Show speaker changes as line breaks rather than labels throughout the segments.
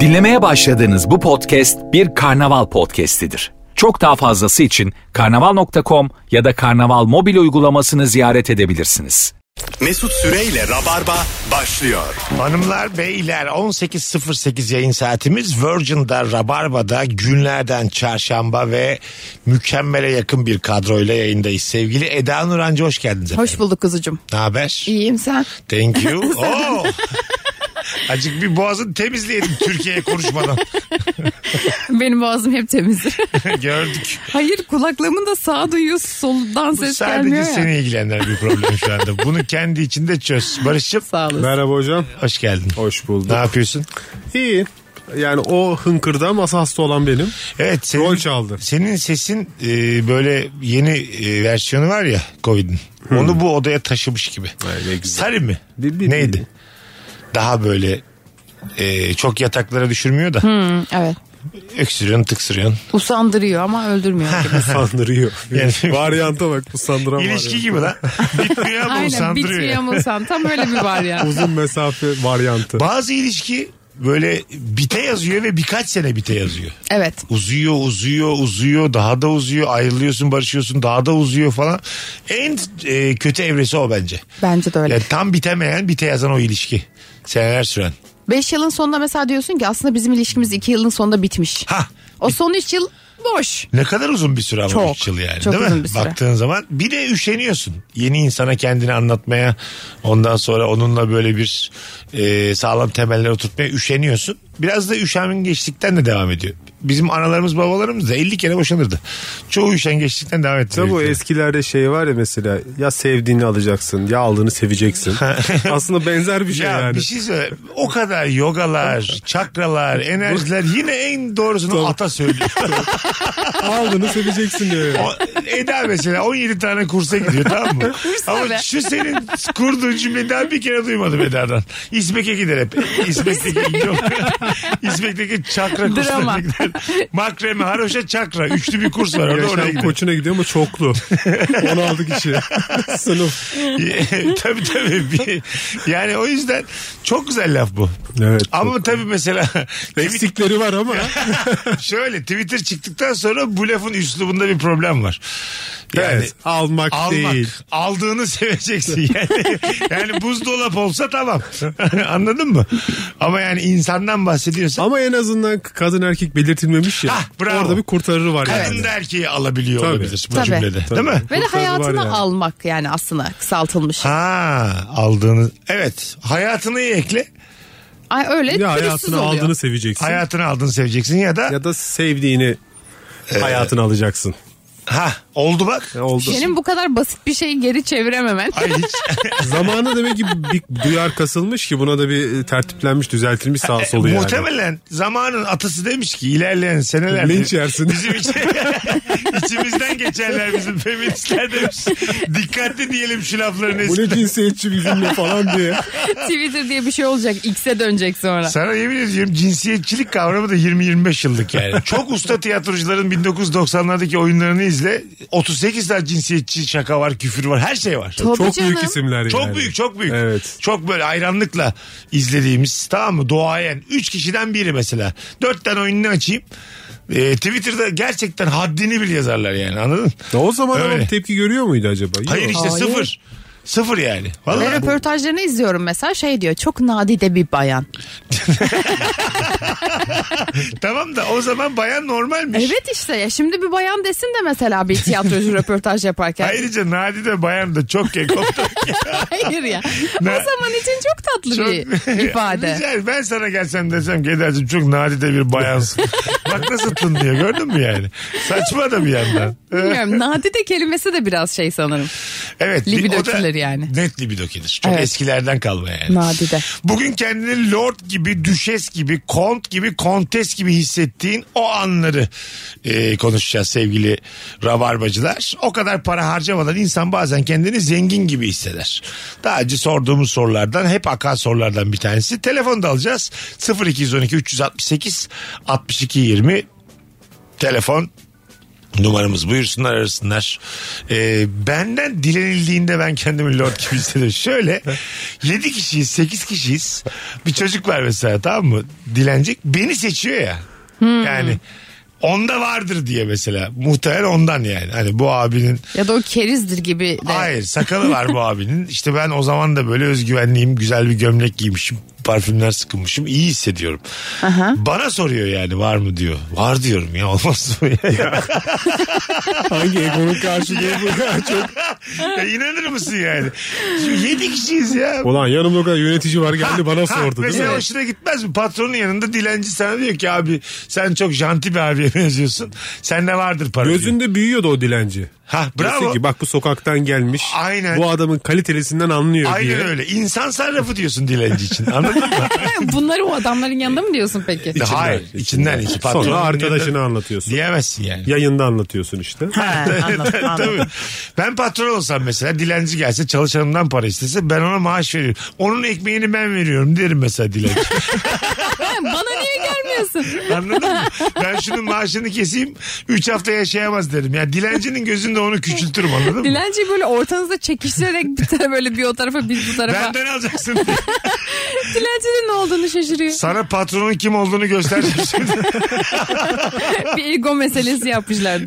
Dinlemeye başladığınız bu podcast bir karnaval podcastidir. Çok daha fazlası için karnaval.com ya da karnaval mobil uygulamasını ziyaret edebilirsiniz.
Mesut Süreyle Rabarba başlıyor.
Hanımlar beyler 18.08 yayın saatimiz Virgin'da Rabarba'da günlerden çarşamba ve mükemmele yakın bir kadroyla yayındayız. Sevgili Eda Nurancı hoş geldiniz efendim.
Hoş bulduk kuzucum.
Ne haber?
İyiyim sen.
Thank you. Oo. Acık bir boğazını temizleyelim Türkiye'ye konuşmadan.
Benim boğazım hep temizdir.
Gördük.
Hayır kulaklığımın da sağ duyuyor soldan
Bu
ses
sadece
gelmiyor ya.
seni ilgilendiren bir problem şu anda. Bunu kendi içinde çöz. Barış'cığım
Sağ olasın.
Merhaba hocam.
hoş geldin.
Hoş
Ne
bulduk.
yapıyorsun?
İyi. Yani o hınkırda masa hasta olan benim.
Evet senin,
Rol çaldı.
senin sesin e, böyle yeni e, versiyonu var ya Covid'in. Onu bu odaya taşımış gibi.
Hmm. ne güzel.
Sarı mı?
Bir- bir-
Neydi? Daha böyle e, çok yataklara düşürmüyor da.
Hı, Evet.
Öksürüyorsun tıksırıyorsun.
Usandırıyor ama öldürmüyor gibi.
Sandırıyor.
Yani-
Varyanta bak bu sandıran
İlişki
varyantı.
gibi lan. Bitmiyor ama
Aynen
usandırıyor.
bitmiyor mu usan? Tam öyle bir var ya.
Uzun mesafe varyantı.
Bazı ilişki böyle bite yazıyor ve birkaç sene bite yazıyor.
Evet.
Uzuyor uzuyor uzuyor daha da uzuyor ayrılıyorsun barışıyorsun daha da uzuyor falan. En e, kötü evresi o bence.
Bence de öyle.
Yani tam bitemeyen bite yazan o ilişki. Seneler süren.
5 yılın sonunda mesela diyorsun ki aslında bizim ilişkimiz 2 yılın sonunda bitmiş.
Ha
O son 3 yıl boş.
ne kadar uzun bir süre ama
Çok,
üç yıl yani
çok
değil mi?
uzun bir süre.
Baktığın zaman bir de üşeniyorsun. Yeni insana kendini anlatmaya ondan sonra onunla böyle bir e, sağlam temeller oturtmaya üşeniyorsun. Biraz da üşengeçlikten de devam ediyor. Bizim analarımız babalarımız da 50 kere boşanırdı. Çoğu üşengeçlikten devam etti.
Tabii o
Büyük
eskilerde şey var ya mesela ya sevdiğini alacaksın ya aldığını seveceksin. Aslında benzer bir şey
Ya
yani.
bir şey söyle. O kadar yogalar, çakralar, enerjiler yine en doğrusunu ata söylüyor.
Aldığını seveceksin diyor.
O, Eda mesela 17 tane kursa gidiyor tamam mı? Ama
be.
şu senin kurduğun cümleyi daha bir kere duymadım Eda'dan. İsmek'e gider hep. İsmek'teki yok. İsmek'teki çakra kursuna
Drama.
gider. Makreme, haroşa, çakra. Üçlü bir kurs var orada oraya
Yaşam
gider.
koçuna gidiyor ama çoklu. 16 kişi. Sınıf.
E, tabii tabii. Bir- yani o yüzden çok güzel laf bu.
Evet.
Ama tabii mesela
Eksikleri var ama.
şöyle Twitter çıktıktan sonra bu lafın üslubunda bir problem var. Yani
evet. Almak,
Almak.
değil.
Aldığını seveceksin. Yani, yani buzdolap olsa tamam. Anladın mı? Ama yani insandan bahsediyorsan
Ama en azından kadın erkek belirtilmemiş ya.
Hah, Ah, bravo.
Orada bir kurtarırı var yani.
kadın da erkeği alabiliyor
Tabii.
olabilir bu
Tabii.
cümlede.
Tabii.
Değil mi?
Ve de
Kurtarı var
hayatını
yani.
almak yani aslında kısaltılmış.
Ha aldığını evet hayatını iyi ekle
Ay öyle
Ya
pürüzsüz
hayatını
oluyor.
aldığını seveceksin.
hayatını aldığını seveceksin ya da
Ya da sevdiğini
Ee,
hayatını alacaksın.
ha oldu bak
Ya Oldu.
Senin bu kadar basit bir şeyi geri çevirememen.
Ay hiç
Zamanında demek ki bir duyar kasılmış ki buna da bir tertiplenmiş, düzeltilmiş sağ solu yani.
E, Muhtemelen zamanın atası demiş ki ilerleyen senelerde
Linç yersin.
bizim için, içimizden geçerler bizim feministler demiş. Dikkatli diyelim şu lafların
Bu
eski.
ne cinsiyetçi bir cümle falan diye.
Twitter diye bir şey olacak. X'e dönecek sonra.
Sana yemin ediyorum cinsiyetçilik kavramı da 20-25 yıllık yani. Çok usta tiyatrocuların 1990'lardaki oyunlarını izle. 38 tane cinsiyetçi şaka var, küfür var, her şey var.
Tabii
Çok büyük
canım.
isimler
Çok
yani.
büyük çok büyük.
Evet.
Çok böyle hayranlıkla izlediğimiz tamam mı doğayen 3 kişiden biri mesela. 4 tane oyununu açayım. Ee, Twitter'da gerçekten haddini bil yazarlar yani anladın mı?
O zaman ama
Öyle.
tepki görüyor muydu acaba? Yok.
Hayır işte
Hayır.
sıfır. Sıfır yani. Vallahi
Ve röportajlarını izliyorum mesela şey diyor çok nadide bir bayan.
tamam da o zaman bayan normalmiş.
Evet işte ya şimdi bir bayan desin de mesela bir tiyatrocu röportaj yaparken. Hayır,
Ayrıca Nadide bayan da çok kekoptu.
ya. o zaman için çok tatlı bir ifade.
Güzel. Ben sana gelsem desem ki Eda'cığım çok nadide bir bayansın. Bak nasıl tınlıyor gördün mü yani? Saçma da bir yandan.
Bilmiyorum nadide kelimesi de biraz şey sanırım.
Evet.
Libido
o da
killer yani.
Net libido killer. Çok
Evet.
eskilerden kalma yani.
Nadide.
Bugün kendini lord gibi, düşes gibi, kont gibi, kontes gibi hissettiğin o anları e, konuşacağız sevgili rabarbacılar. O kadar para harcamadan insan bazen kendini zengin gibi hisseder. Daha önce sorduğumuz sorulardan hep akan sorulardan bir tanesi. Telefonu da alacağız. 0212 368 62 20 telefon Numaramız buyursunlar arasınlar. Ee, benden dilenildiğinde ben kendimi lord gibi hissediyorum. Şöyle 7 kişiyiz 8 kişiyiz. Bir çocuk var mesela tamam mı? Dilenecek beni seçiyor ya. Yani onda vardır diye mesela. Muhtemelen ondan yani. Hani bu abinin
Ya da o kerizdir gibi de.
Hayır sakalı var bu abinin. İşte ben o zaman da böyle özgüvenliyim. Güzel bir gömlek giymişim. Parfümler sıkılmışım. iyi hissediyorum. Bana soruyor yani var mı diyor. Var diyorum ya olmaz mı ya?
Hangi egonun karşılığı bu? Çok...
Ya inanır mısın yani? Şimdi yedi kişiyiz ya.
Ulan yanımda o kadar yönetici var geldi bana
Ha,
sordu değil
mesela
mi?
hoşuna gitmez mi? Patronun yanında dilenci sana diyor ki abi sen çok janti bir abiye benziyorsun. Sende vardır para. diyor.
Gözünde büyüyordu o dilenci.
Ha
Diyorsun
bravo.
ki bak bu sokaktan gelmiş.
Aynen.
Bu adamın kalitelisinden anlıyor diye.
Aynen öyle. İnsan sarrafı diyorsun dilenci için. Anladın mı?
Bunları o adamların yanında mı diyorsun peki?
İçinden, Hayır.
içinden.
içinden hiç. Patronun
Sonra arkadaşına
yanında
anlatıyorsun.
Diyemezsin yani.
Yayında anlatıyorsun işte.
Ha, anladım, anladım.
Tabii. Ben patron olsam mesela dilenci gelse çalışanımdan para istese ben ona maaş veriyorum. Onun ekmeğini ben veriyorum derim mesela dilenci.
Bana niye gelmiyorsun?
Anladın mı? Ben şunun maaşını keseyim 3 hafta yaşayamaz derim. Ya dilencinin gözünde onu küçültürüm anladın mı?
Dilenciyi böyle ortanızda çekiştirerek bir tarafa böyle bir o tarafa bir bu tarafa.
Benden alacaksın diye.
Dilencinin ne olduğunu şaşırıyor.
Sana patronun kim olduğunu göstereceğim şimdi.
bir ego meselesi yapmışlar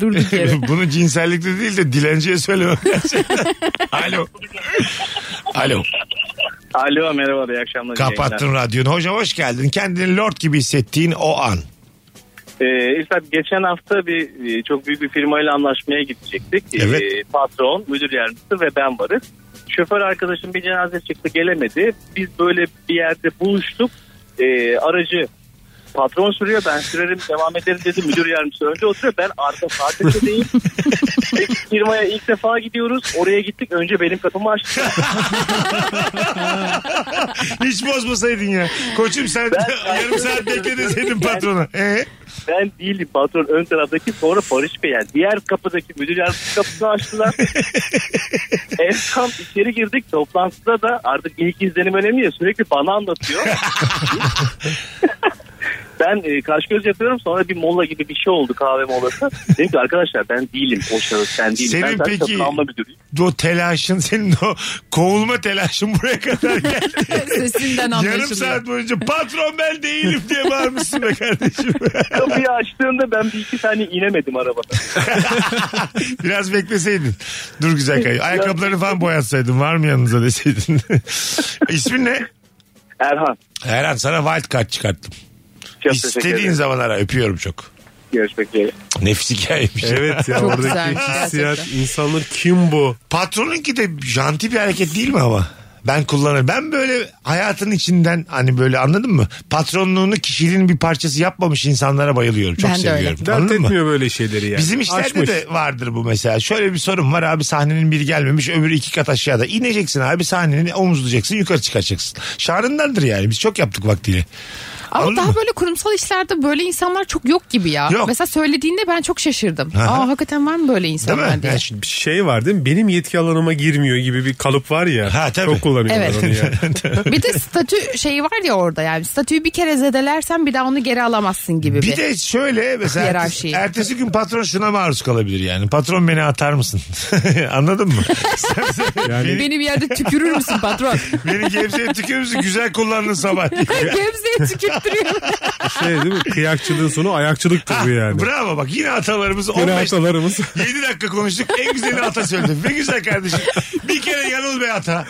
durduk yere.
Bunu cinsellikte değil de dilenciye söylemem gerçekten. Alo. Alo.
Alo merhaba iyi akşamlar. iyi
Kapattın radyonu. Hocam hoş geldin. Kendini lord gibi hissettiğin o an.
yayınlar. Ee, İrfan, geçen hafta bir e, çok büyük bir firmayla anlaşmaya gidecektik. Ee,
Evet.
patron, müdür yardımcısı ve ben varız. Şoför arkadaşım bir cenaze çıktı gelemedi. Biz böyle bir yerde buluştuk. Ee, aracı patron sürüyor ben sürerim devam ederim dedi müdür yardımcısı önce oturuyor ben arka parketedeyim firmaya ilk defa gidiyoruz oraya gittik önce benim kapımı açtı
Hiç bozmasaydın ya. Koçum sen
Ben-
yarım saat bekle deseydin patrona. Ee?
Ben değil patron ön taraftaki sonra Barış Bey yani diğer kapıdaki müdür yardımcısı kapısını açtılar. en tam içeri girdik toplantıda da artık ilk izlenim önemli ya sürekli bana anlatıyor. ben e, karşı göz yapıyorum sonra bir mola gibi bir şey oldu kahve molası. Dedim ki arkadaşlar ben değilim o şahıs ben değilim.
Senin
ben zaten
peki-
kalma müdürüyüm.
o telaşın senin o kovulma telaşın buraya kadar geldi.
Sesinden
Yarım
anlaşılıyor.
saat boyunca patron ben değilim diye bağırmışsın be kardeşim.
Kapıyı açtığımda ben bir iki tane inemedim arabada.
Biraz bekleseydin. Dur güzel kayı. Ayakkabılarını falan boyatsaydın var mı yanınıza deseydin. İsmin ne?
Erhan.
Erhan sana wild card çıkarttım.
Çok teşekkür
İstediğin
ederim.
zaman ara öpüyorum çok.
Görüşmek üzere.
Nefis hikayeymiş.
Evet ya
Çok
oradaki
güzelmiş
hissiyat
gerçekten.
insanlar kim bu?
Patronunki de janti bir hareket değil mi ama? Ben kullanırım. Ben böyle hayatın içinden hani böyle anladın mı? Patronluğunu kişiliğin bir parçası yapmamış insanlara bayılıyorum. Çok
Ben de öyle.
seviyorum.
Dert
Anladın mı?
etmiyor böyle şeyleri yani.
Bizim işlerde
Açmış.
de vardır bu mesela. Şöyle bir sorun var abi sahnenin biri gelmemiş öbürü iki kat aşağıda. İneceksin abi sahnenin omuzlayacaksın yukarı çıkacaksın. Şarındandır yani biz çok yaptık vaktiyle.
Ama
Anladın
daha
mı?
böyle kurumsal işlerde böyle insanlar çok yok gibi ya.
Yok.
Mesela söylediğinde ben çok şaşırdım.
Aha.
Aa hakikaten var mı böyle
Değil
insanlar
mi?
diye.
Yani
Bir şey var değil mi? Benim yetki alanıma girmiyor gibi bir kalıp var ya.
Ha, tabii.
Çok kullanıyorlar
Evet.
onu ya.
Bir de statü şeyi var ya orada yani. Statüyü bir kere zedelersen bir daha onu geri alamazsın gibi bir.
Bir de şöyle mesela ertesi,
Hiyerarşi.
ertesi gün patron şuna maruz kalabilir yani. Patron beni atar mısın? Anladın mı? Sen- sen- beni,
Hani Beni bir yerde tükürür müsün patron?
beni Gebze'ye tükürür müsün? Güzel kullandın sabah.
Gebze'ye tükürttürüyor.
Şey değil mi? Kıyakçılığın sonu ayakçılıktır bu yani.
Ah, Bravo bak yine atalarımız
Yine
15
atalarımız.
7 dakika konuştuk en güzeli ata söyledim. Ne güzel kardeşim. Bir kere yanıl be ata.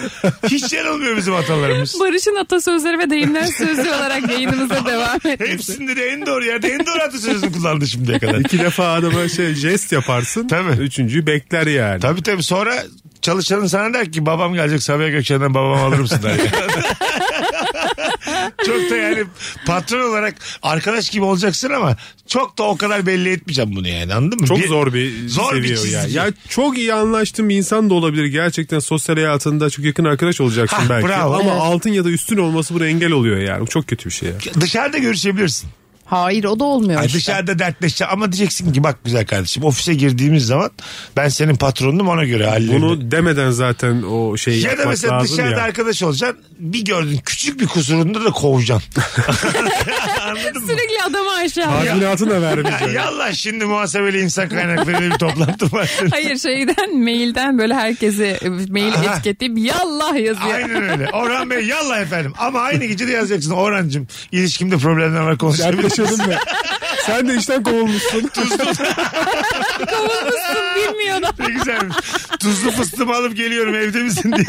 Hiç yanılmıyor bizim atalarımız.
Barış'ın atasözleri ve deyimler sözlü olarak yayınımıza devam etmesi.
Hepsinde de en doğru yerde en doğru atasözünü kullandı şimdiye kadar.
İki defa adama şey jest yaparsın.
Tabii.
Üçüncüyü bekler yani.
Tabii tabii sonra çalışanın sana der ki babam gelecek Sabiha Gökçen'den babam alır mısın der. çok da yani patron olarak arkadaş gibi olacaksın ama çok da o kadar belli etmeyeceğim bunu yani anladın mı?
Çok zor bir
zor bir
seviye o ya.
çizgi.
Ya çok iyi anlaştığım bir insan da olabilir. Gerçekten sosyal hayatında çok yakın arkadaş olacaksın
Hah,
belki.
bravo.
Ama
Evet.
altın ya da üstün olması buna engel oluyor yani. Bu çok kötü bir şey ya.
Dışarıda görüşebilirsin.
Hayır o da olmuyor
Ay
işte.
dışarıda dertleşeceğim ama diyeceksin ki bak güzel kardeşim ofise girdiğimiz zaman ben senin patronunum ona göre hallerini.
Bunu demeden zaten o şeyi
ya da
yapmak
mesela
lazım
dışarıda
ya.
arkadaş olacaksın bir gördün küçük bir kusurunda da kovacaksın. Anladın mı?
Sürekli adamı aşağı.
Tazminatı da
Ya
vermeyeceksin.
Yallah şimdi muhasebeli insan kaynaklarıyla bir toplantı var.
Hayır şeyden mailden böyle herkesi e, mail
Aha.
etiketleyip yallah yazıyor.
Aynen öyle. Orhan Bey yallah efendim. Ama aynı gece de yazacaksın. Orhancığım ilişkimde problemler var konuşabiliriz.
Dertleşiyordun mu? Sen de işten kovulmuşsun.
Kovulmuşsun bilmiyor da.
ne güzelmiş. Tuzlu fıstığımı alıp geliyorum evde misin diye.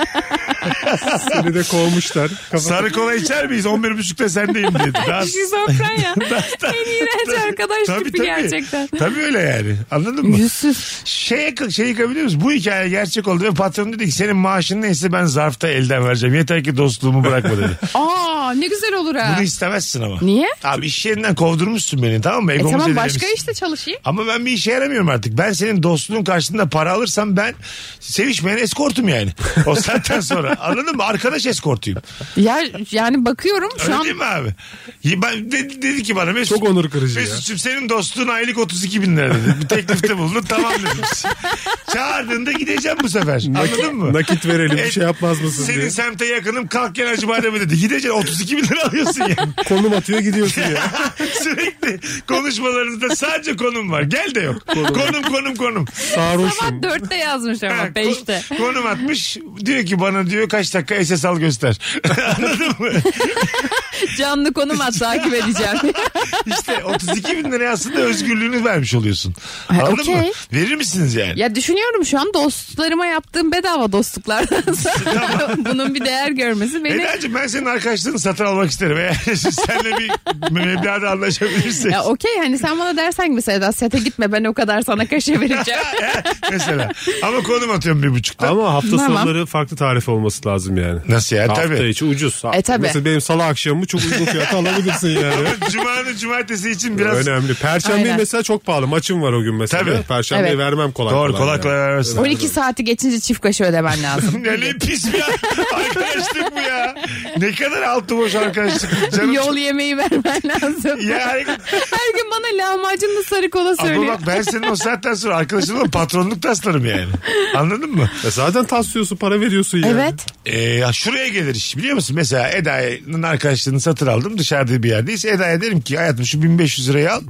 Seni de kovmuşlar. Kafa-
Sarı kola içer miyiz? 11.30'da sendeyim dedi. Daha,
Şizofren ya.
daha-
en iğrenç arkadaş
Tabii,
tipi
tabii.
gerçekten.
Tabii öyle yani. Anladın mı?
Yüzsüz.
Şeye, şey yıkabiliyor musun? Bu hikaye gerçek oldu ve patron dedi ki senin maaşın neyse ben zarfta elden vereceğim. Yeter ki dostluğumu bırakma dedi.
Aa ne güzel olur ha.
Bunu istemezsin ama.
Niye?
Abi iş yerinden kovdurmuşsun beni tamam mı?
E
Egomu
tamam
zedelemişsin.
başka işte çalışayım.
Ama ben bir işe yaramıyorum artık. Ben senin dostluğun karşılığında para alırsam ben sevişmeyen eskortum yani. O saatten sonra. Anladın mı? Arkadaş eskortuyum.
Ya yani bakıyorum şu
Öyle
an
değil mi abi? Ya Ben dedi, dedi ki bana Mesut.
Çok onur kırıcı ya.
Mesut'cum senin dostluğun aylık 32 bin lira dedi. Bir teklifte bulundu tamam dedim. Çağırdığında gideceğim bu sefer. Anladın mı?
Nakit verelim bir şey yapmaz mısın
Senin
diye.
semte yakınım kalk gel Hacı Badem'e dedi. Gideceksin 32 bin lira alıyorsun yani.
Konum atıyor gidiyorsun ya.
Sürekli konuşmalarınızda sadece konum var. Gel de yok. Konum konum konum.
sabah
Sarhoşum.
dörtte yazmış ama
Ha,
beşte.
kon- Konum atmış. Diyor ki bana diyor kaç dakika SSL göster. Anladın mı?
Canlı konum at takip edeceğim.
İşte 32 bin liraya aslında özgürlüğünü vermiş oluyorsun.
Ha,
Anladın mı?
okey.
Verir misiniz yani?
ya düşünüyorum şu an dostlarıma yaptığım bedava dostluklardansa bunun bir değer görmesi beni
Eda'cığım ben senin arkadaşlığını satın almak isterim. Eğer seninle bir meblağda anlaşabilirsek.
Ya okey hani sen bana dersen ki mesela "Eda, sete gitme ben o kadar sana kaşe vereceğim.
Eh, Mesela. Ama konum atıyorum bir buçukta.
Ama hafta
Tamam.
sonları farklı tarif olması lazım yani.
Nasıl yani?
Hafta
Tabii.
içi ucuz.
E, tabii.
Mesela benim salı akşamımı çok uygun fiyata alabilirsin yani.
Cuma'nın cumartesi için biraz...
Önemli. Perşembe
Aynen.
mesela çok pahalı. Maçım var o gün mesela.
Tabii.
Perşembeyi
Evet.
vermem kolay
Doğru
kolay.
kolay kolay
yani.
vermezsin.
12 saati geçince çift kaşe ödemen lazım.
Ya ne pis bir arkadaşlık bu ya. Ne kadar altı boş arkadaşlık. Canım
Yol yemeği vermen lazım.
Ya
Her gün bana lahmacunlu sarı kola
ama
söylüyor.
bak ben senin o saatten sonra arkadaşımla patronluk taslarım yani. Anladın mı?
E zaten taslıyorsun para veriyorsun yani.
Evet.
Ee, ya şuraya gelir iş biliyor musun? Mesela Eda'nın arkadaşlığını satın aldım dışarıda bir yerdeyiz. Eda'ya derim ki hayatım şu 1500 lirayı al.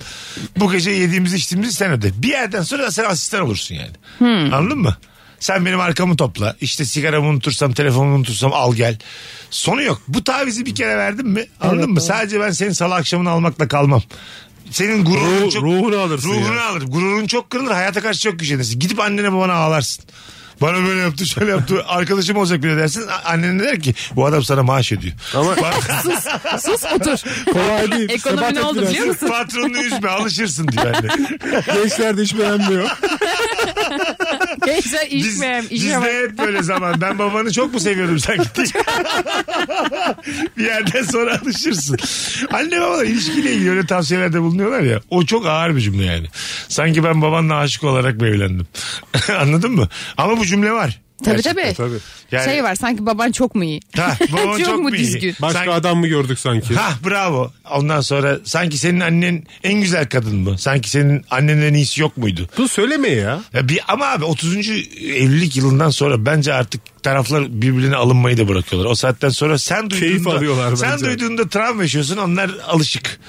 Bu gece yediğimizi içtiğimizi sen öde. Bir yerden sonra da sen asistan olursun yani. Anladın mı? Sen benim arkamı topla. İşte sigaramı unutursam, telefonumu unutursam al gel. Sonu yok. Bu tavizi bir kere verdim mi? Anladın mı? Sadece ben senin salı akşamını almakla kalmam. Senin gururun
Ruh-
çok...
ruhunu alırsın
Ruhunu
ya.
alır. Gururun çok kırılır. Hayata karşı çok güçlenirsin. Gidip annene babana ağlarsın. Bana böyle yaptı şöyle yaptı. Arkadaşım olacak bile dersin. A- Annen der ki bu adam sana maaş ödüyor.
Ama
Sus, sus otur.
kolay değil.
Ekonomi ne
Sebat
oldu
et
biliyor
biraz.
musun?
Patronunu üzme alışırsın diyor anne.
Gençler de hiç beğenmiyor.
Gençler
Biz,
içmeyen,
biz
içmeyen.
de hep böyle zaman. Ben babanı çok mu seviyordum sanki? diye. bir yerden sonra alışırsın. Anne babalar ilişkiyle ilgili öyle tavsiyelerde bulunuyorlar ya. O çok ağır bir cümle yani. Sanki ben babanla aşık olarak mı evlendim? Anladın mı? Ama bu cümle var.
Tabii tabii.
Tabii.
Yani-
Şey var sanki baban çok mu iyi?
Ha, baban çok,
Çok mu
iyi.
düzgün?
Başka
Sanki-
adam mı gördük sanki?
Ha bravo. Ondan sonra sanki senin annen en güzel kadın mı? Sanki senin annenin en iyisi yok muydu?
Bu söyleme ya.
Ya bir, ama abi 30. evlilik yılından sonra bence artık taraflar birbirine alınmayı da bırakıyorlar. O saatten sonra sen duyduğunda,
Keyif alıyorlar
sen
bence.
duyduğunda travma yaşıyorsun onlar alışık.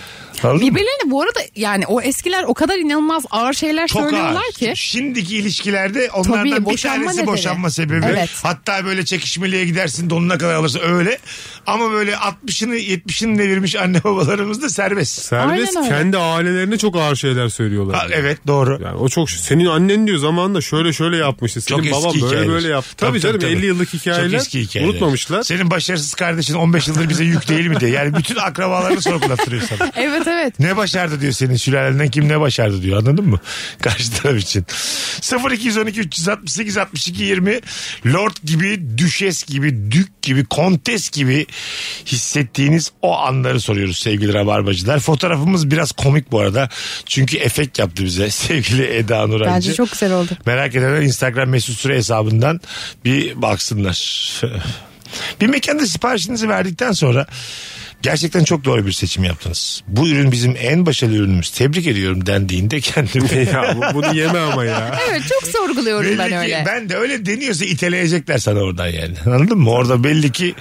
Anladın mı?
Birbirlerine bu arada yani o eskiler o kadar inanılmaz ağır şeyler
Çok
söylüyorlar
ağır.
ki.
Şimdiki ilişkilerde onlardan bir
boşanma
tanesi
nedeni.
boşanma sebebi.
Evet.
Hatta böyle çekişmeliğe gidersin donuna kadar alırsın öyle. Ama böyle 60'ını 70'ini devirmiş anne babalarımız da serbest.
Serbest
Aynen öyle.
kendi ailelerine çok ağır şeyler söylüyorlar.
Ha, evet doğru.
Yani o çok senin annen diyor zamanında şöyle şöyle yapmıştı. Senin
Çok eski
baban böyle
hikayeler.
böyle yaptı. Tabii, canım 50 yıllık hikayeler.
Çok eski hikayeler.
Unutmamışlar.
Senin başarısız kardeşin 15 yıldır bize yük değil mi diye. Yani bütün akrabalarını sorgulattırıyor sana.
Evet evet.
Ne başardı diyor senin sülalenden kim ne başardı diyor anladın mı? Karşı taraf için. 0212 368 62 20 Lord gibi, düşes gibi, dük gibi, kontes gibi hissettiğiniz o anları soruyoruz sevgili rabarbacılar. Fotoğrafımız biraz komik bu arada. Çünkü efekt yaptı bize sevgili Eda Nurancı.
Bence çok güzel oldu.
Merak edenler Instagram mesut süre hesabından bir baksınlar. bir mekanda siparişinizi verdikten sonra Gerçekten çok doğru bir seçim yaptınız. Bu ürün bizim en başarılı ürünümüz. Tebrik ediyorum dendiğinde kendimi.
ya bu- bunu yeme ama ya.
Evet çok sorguluyorum
belli
ben
ki
öyle.
ben de öyle deniyorsa iteleyecekler sana oradan yani. Anladın mı? Orada belli ki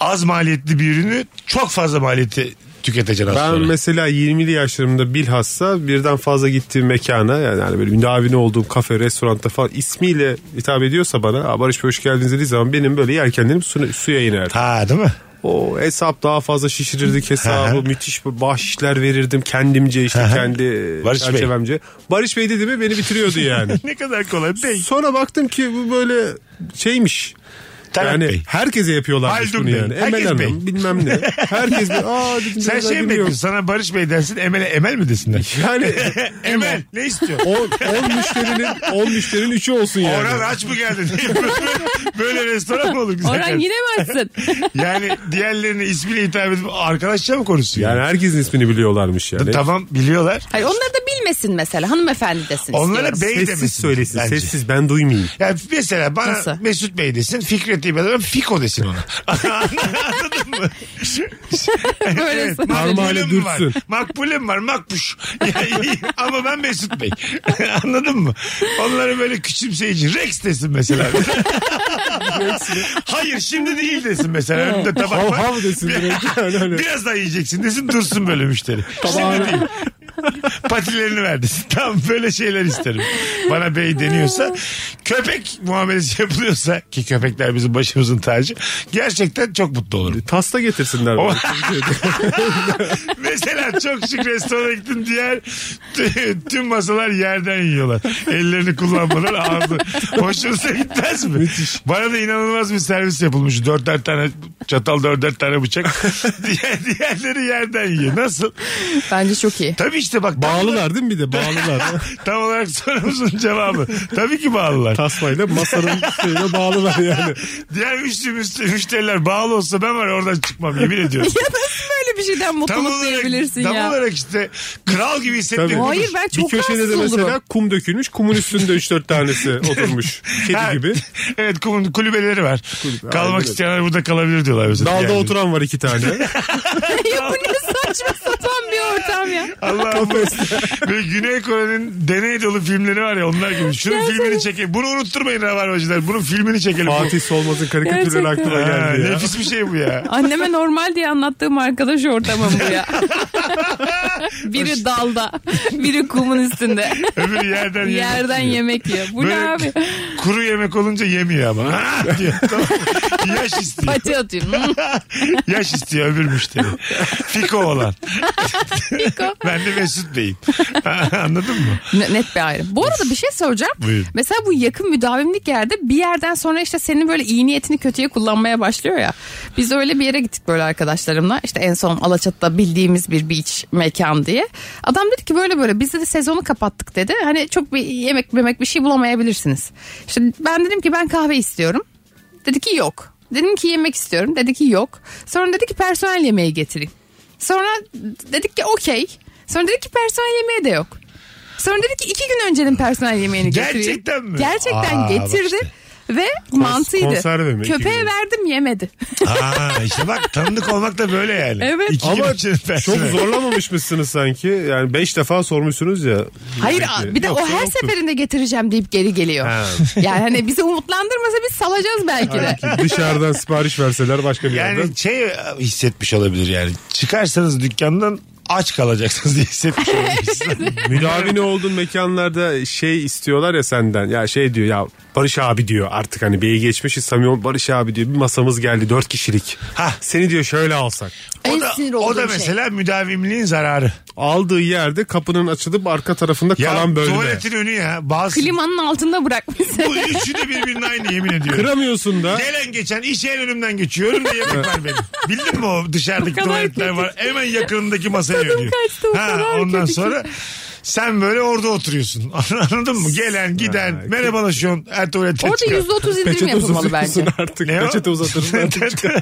az maliyetli bir ürünü çok fazla maliyeti tüketeceksin az
Ben
sonra.
mesela 20'li yaşlarımda bilhassa birden fazla gittiğim mekana yani hani böyle müdavini olduğum kafe, restoranda falan ismiyle hitap ediyorsa bana "Aa, Barış Bey hoş geldiniz dediği zaman benim böyle yelkenlerim su- suya iner.
Ha değil mi?
O hesap daha fazla şişirirdik hesabı. müthiş bahşişler verirdim kendimce işte kendi
Barış Bey.
çerçevemce. Barış Bey dedi mi beni bitiriyordu yani.
Ne kadar kolay. Bey.
Sonra baktım ki bu böyle şeymiş.
Talat
yani
Bey.
herkese yapıyorlarmış
Haldun
bunu
Bey.
yani. Emel
Herkes
Hanım
Bey.
bilmem ne. Herkes bir aa dedim,
Sen
biraz
şey mi
biliyorum.
bekliyorsun? Sana Barış Bey dersin Emel'e Emel mi desinler?
Yani
Emel ne istiyor?
10 müşterinin 10 müşterinin 3'ü olsun yani.
Orhan aç mı geldin? Böyle restoran mı olur güzel?
Orhan yine mi açsın?
Yani diğerlerine ismiyle hitap edip arkadaşça mı konuşuyor?
Yani herkesin ismini biliyorlarmış yani.
Tamam biliyorlar.
Hayır onları da bilmesin mesela hanımefendi desin
Onlara
istiyorum.
bey demesin.
Sessiz söylesin.
bence.
Sessiz ben duymayayım.
Yani mesela bana
Nasıl?
Mesut Bey desin, Fikret diye bir adam Fiko desin ona. Anladın mı?
Böyle
Evet,
Parmağı-
sana-
makbulüm
Parmağıyla
var.
dürtsün.
Makbulüm var, makbuş. Yani Ama ben Mesut Bey. Anladın mı? Onlara böyle küçümseyici Rex desin mesela. Hayır şimdi değil desin mesela. Önümde tabak
Hav
var.
hav desin direkt. Yani hani
Biraz daha yiyeceksin desin dursun böyle müşteri. Şimdi değil. Patilerini ver desin. Tam böyle şeyler isterim. Bana bey deniyorsa köpek muamelesi yapılıyorsa ki köpekler bizim başımızın tacı gerçekten çok mutlu olurum.
Pasta getirsinler. bana.
Mesela çok şık restorana gittin diğer t- tüm masalar yerden yiyorlar. Ellerini kullanmadan ağzı. Hoşunuza gitmez mi? Bana da inanılmaz bir servis yapılmış. Dörder tane çatal dörder tane bıçak. Diğer, diğerleri yerden yiyor. Nasıl?
Bence çok iyi.
Tabii işte bak.
Bağlılar değil mi bir de bağlılar.
Tam olarak sorumuzun cevabı. Tabii ki bağlılar.
Tasmayla masanın şeyine bağlılar yani.
Diğer müşteri, müşteri- müşteriler bağlı olsa ben var ya oradan çıkmam yemin ediyorum.
Ya nasıl böyle bir şeyden mutluluk duyabilirsin
tam
ya?
olarak işte kral gibi hissetmek
Tabii.
Hayır
budur.
ben çok
bir köşede de
rahatsız
mesela
olurum.
kum dökülmüş. Kumun üstünde 3-4 tanesi oturmuş.
Ha,
Kedi gibi.
evet kumun kulübeleri var. Kalmak
aynen.
isteyenler burada kalabilir diyorlar. mesela.
Dalda
Yani.
oturan var iki tane.
ya bu ne saçma sapan bir ortam ya.
Allah'ım. Böyle Güney Kore'nin deney dolu filmleri var ya onlar gibi. Şunun filmini çekelim. Bunu unutturmayın Rabarbacılar. Bunun filmini çekelim.
Fatih Solmaz'ın karikatürleri
Gerçekten.
aklıma
Ha,
geldi ya.
nefis bir şey bu ya.
Anneme normal diye anlattığım arkadaş ortamım bu ya. biri dalda, biri kumun üstünde.
Öbürü yerden yemek
Yerden
yiyor.
yemek yiyor. Bu ne
Böyle
abi?
Kuru yemek olunca yemiyor ama. Ha, diyor. Tamam. Yaş istiyor.
Pati atıyorum. Hmm,
Yaş istiyor öbür müşteri. Fiko olan.
Fiko.
Ben de Mesut Bey'im. Anladın mı?
Ne- Net bir ayrım. Bu arada bir şey soracağım.
Buyurun.
Mesela bu yakın müdavimlik yerde bir yerden sonra işte senin böyle iyi niyetini kötüye kullanmaya başlıyor ya. Biz öyle bir yere gittik böyle arkadaşlarımla. İşte en son Alaçatı'da bildiğimiz bir beach mekan diye. Adam dedi ki böyle böyle biz de sezonu kapattık dedi. Hani çok bir yemek memek bir şey bulamayabilirsiniz. İşte ben dedim ki ben kahve istiyorum. Dedi ki yok. Dedim ki yemek istiyorum. Dedi ki yok. Sonra dedi ki personel yemeği getireyim. Sonra dedik ki okey. Sonra dedi ki personel yemeği de yok. Sonra dedi ki iki gün öncenin personel yemeğini getireyim.
Gerçekten mi?
Gerçekten
Aa,
getirdi.
bak işte.
Ve mantıydı.
konserve mi? İki
Köpeğe
gün.
verdim yemedi.
Aa, işte bak tanıdık olmak da böyle yani.
Evet.
İki gün
Ama
için
çok
personel.
zorlamamış mısınız sanki? Yani 5 defa sormuşsunuz ya.
Hayır
Peki.
bir de o
Yoksa
her
yoktur.
seferinde getireceğim deyip geri geliyor. Yani hani bizi umutlandırmasa biz salacağız belki de.
Belki dışarıdan sipariş verseler başka bir yerden.
Yani şey hissetmiş olabilir yani. Çıkarsanız dükkandan aç kalacaksınız diye hissetmiş olabilirsiniz.
Müdavini olduğun mekanlarda şey istiyorlar ya senden. Ya şey diyor ya Barış abi diyor artık hani beyi geçmişiz samimi Barış abi diyor bir masamız geldi dört kişilik.
Hah.
Seni diyor şöyle alsak.
En
o da,
sinir
o
olduğum
da
şey.
mesela müdavimliğin zararı.
Aldığı yerde kapının açılıp arka tarafında
Ya
kalan bölme.
tuvaletin önü ya. Bazı
Klimanın altında bırakmış.
bu üçü de birbirinin aynı yemin ediyorum.
Kıramıyorsun da.
Gelen geçen iş en önümden geçiyor. Önümde yemek var benim. Bildin mi o dışarıdaki
kadar
tuvaletler
kötü.
var. Hemen yakınındaki masaya yönüyor.
kaçtı, o kadar
ondan
kötü ki.
sonra sen böyle orada oturuyorsun. Anladın mı? Gelen giden merhabalaşıyorsun. Her tuvalette
Orada
çıkan.
%30 indirim
Peçete
yapılmalı
uzatıyorsun
bence.
artık.
Ne o?
Peçete uzatırsın artık.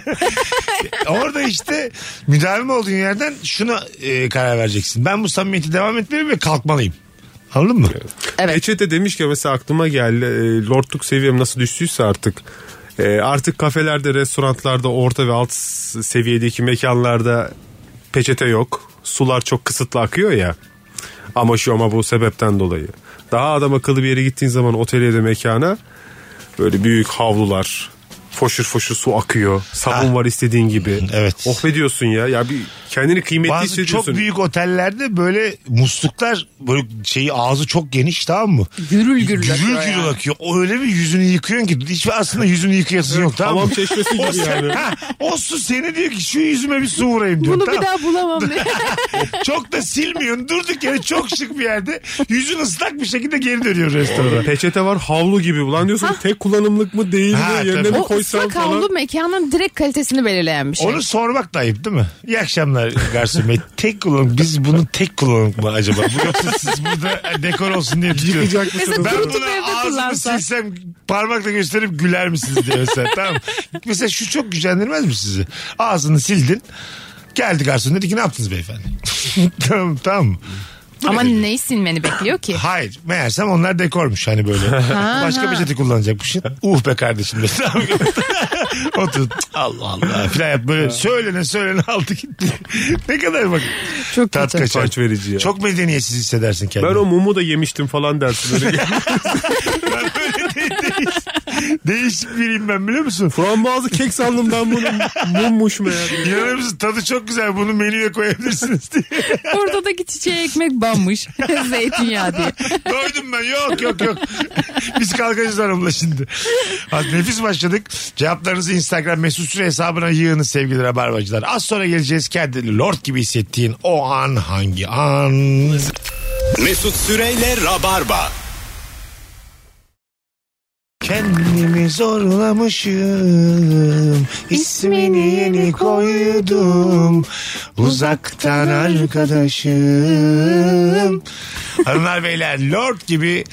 Orada işte müdavim olduğun yerden şuna e, karar vereceksin. Ben bu samimiyeti devam etmeliyim ve kalkmalıyım. Anladın mı?
Evet.
Peçete demişken mesela aklıma geldi. e, lordluk seviyem nasıl düştüyse artık. Ee, artık kafelerde, restoranlarda, orta ve alt s- seviyedeki mekanlarda peçete yok. Sular çok kısıtlı akıyor ya. Ama şu ama bu sebepten dolayı. Daha adam akıllı bir yere gittiğin zaman otele de mekana böyle büyük havlular, foşur foşur su akıyor. Sabun
Ha.
var istediğin gibi.
Evet.
Oh be diyorsun ya. Ya bir kendini kıymetli
Bazı
hissediyorsun.
çok büyük otellerde böyle musluklar böyle şeyi ağzı çok geniş tamam mı?
Gürül gürül.
Gürül
akıyor yani.
gürül akıyor. O öyle bir yüzünü yıkıyorsun ki hiçbir aslında yüzünü yıkayasın yok tamam şey
Hamam
mı?
çeşmesi
O,
gibi yani.
ha, o su seni diyor ki şu yüzüme bir su vurayım diyor.
Bunu
tamam.
bir daha bulamam. diye.
Çok da silmiyorsun. Durduk yere çok şık bir yerde. Yüzün ıslak bir şekilde geri dönüyor restorana.
Peçete var havlu gibi. Ulan diyorsun tek kullanımlık mı değil mi?
Ha,
Yerine
tabii.
mi
o
koysam
ıslak havlu
falan.
mekanın direkt kalitesini belirleyen bir şey.
Onu sormak da ayıp değil mi? İyi akşamlar Garson Bey. Tek kullanım. Biz bunu tek kullanım mı acaba? Bu yoksa siz burada dekor olsun diye tutuyorsunuz.
Yıkayacak mısınız?
Ben
Kurutup evde
buna ağzımı
kullansa.
silsem parmakla gösterip güler misiniz diye mesela. tamam. Mesela şu çok gücendirmez mi sizi? Ağzını sildin. Geldi garson dedi ki ne yaptınız beyefendi? tamam tamam. Bu
Ama
ne?
neyi silmeni bekliyor ki?
Hayır meğersem onlar dekormuş hani böyle. Başka peçete kullanacakmışsın. Uh be kardeşim dedi. Tamam. Otur. Allah Allah. Filan yap böyle söylene söylene aldı gitti. ne kadar bak.
Çok şey
Tat
kötü.
kaçar.
Utanç verici ya.
Çok medeniyetsiz hissedersin kendini.
Ben o mumu da yemiştim falan dersin. Öyle
Ben öyle de- değiş- değişik biriyim ben biliyor musun?
Frambuazlı kek sandım ben bunu. Mummuş meğer.
İnanır mısın tadı çok güzel bunu menüye koyabilirsiniz diye.
Orada da çiçeğe ekmek banmış. Zeytinyağı diye.
Doydum ben yok yok yok. Biz kalkacağız hanımla şimdi. Az nefis başladık. Cevaplarınızı Instagram mesut süre hesabına yığınız sevgili rabarbacılar. Az sonra geleceğiz kendini lord gibi hissettiğin o an hangi an?
Mesut Süreyle Rabarba.
Kendimi zorlamışım İsmini yeni koydum Uzaktan arkadaşım Hanımlar beyler lord gibi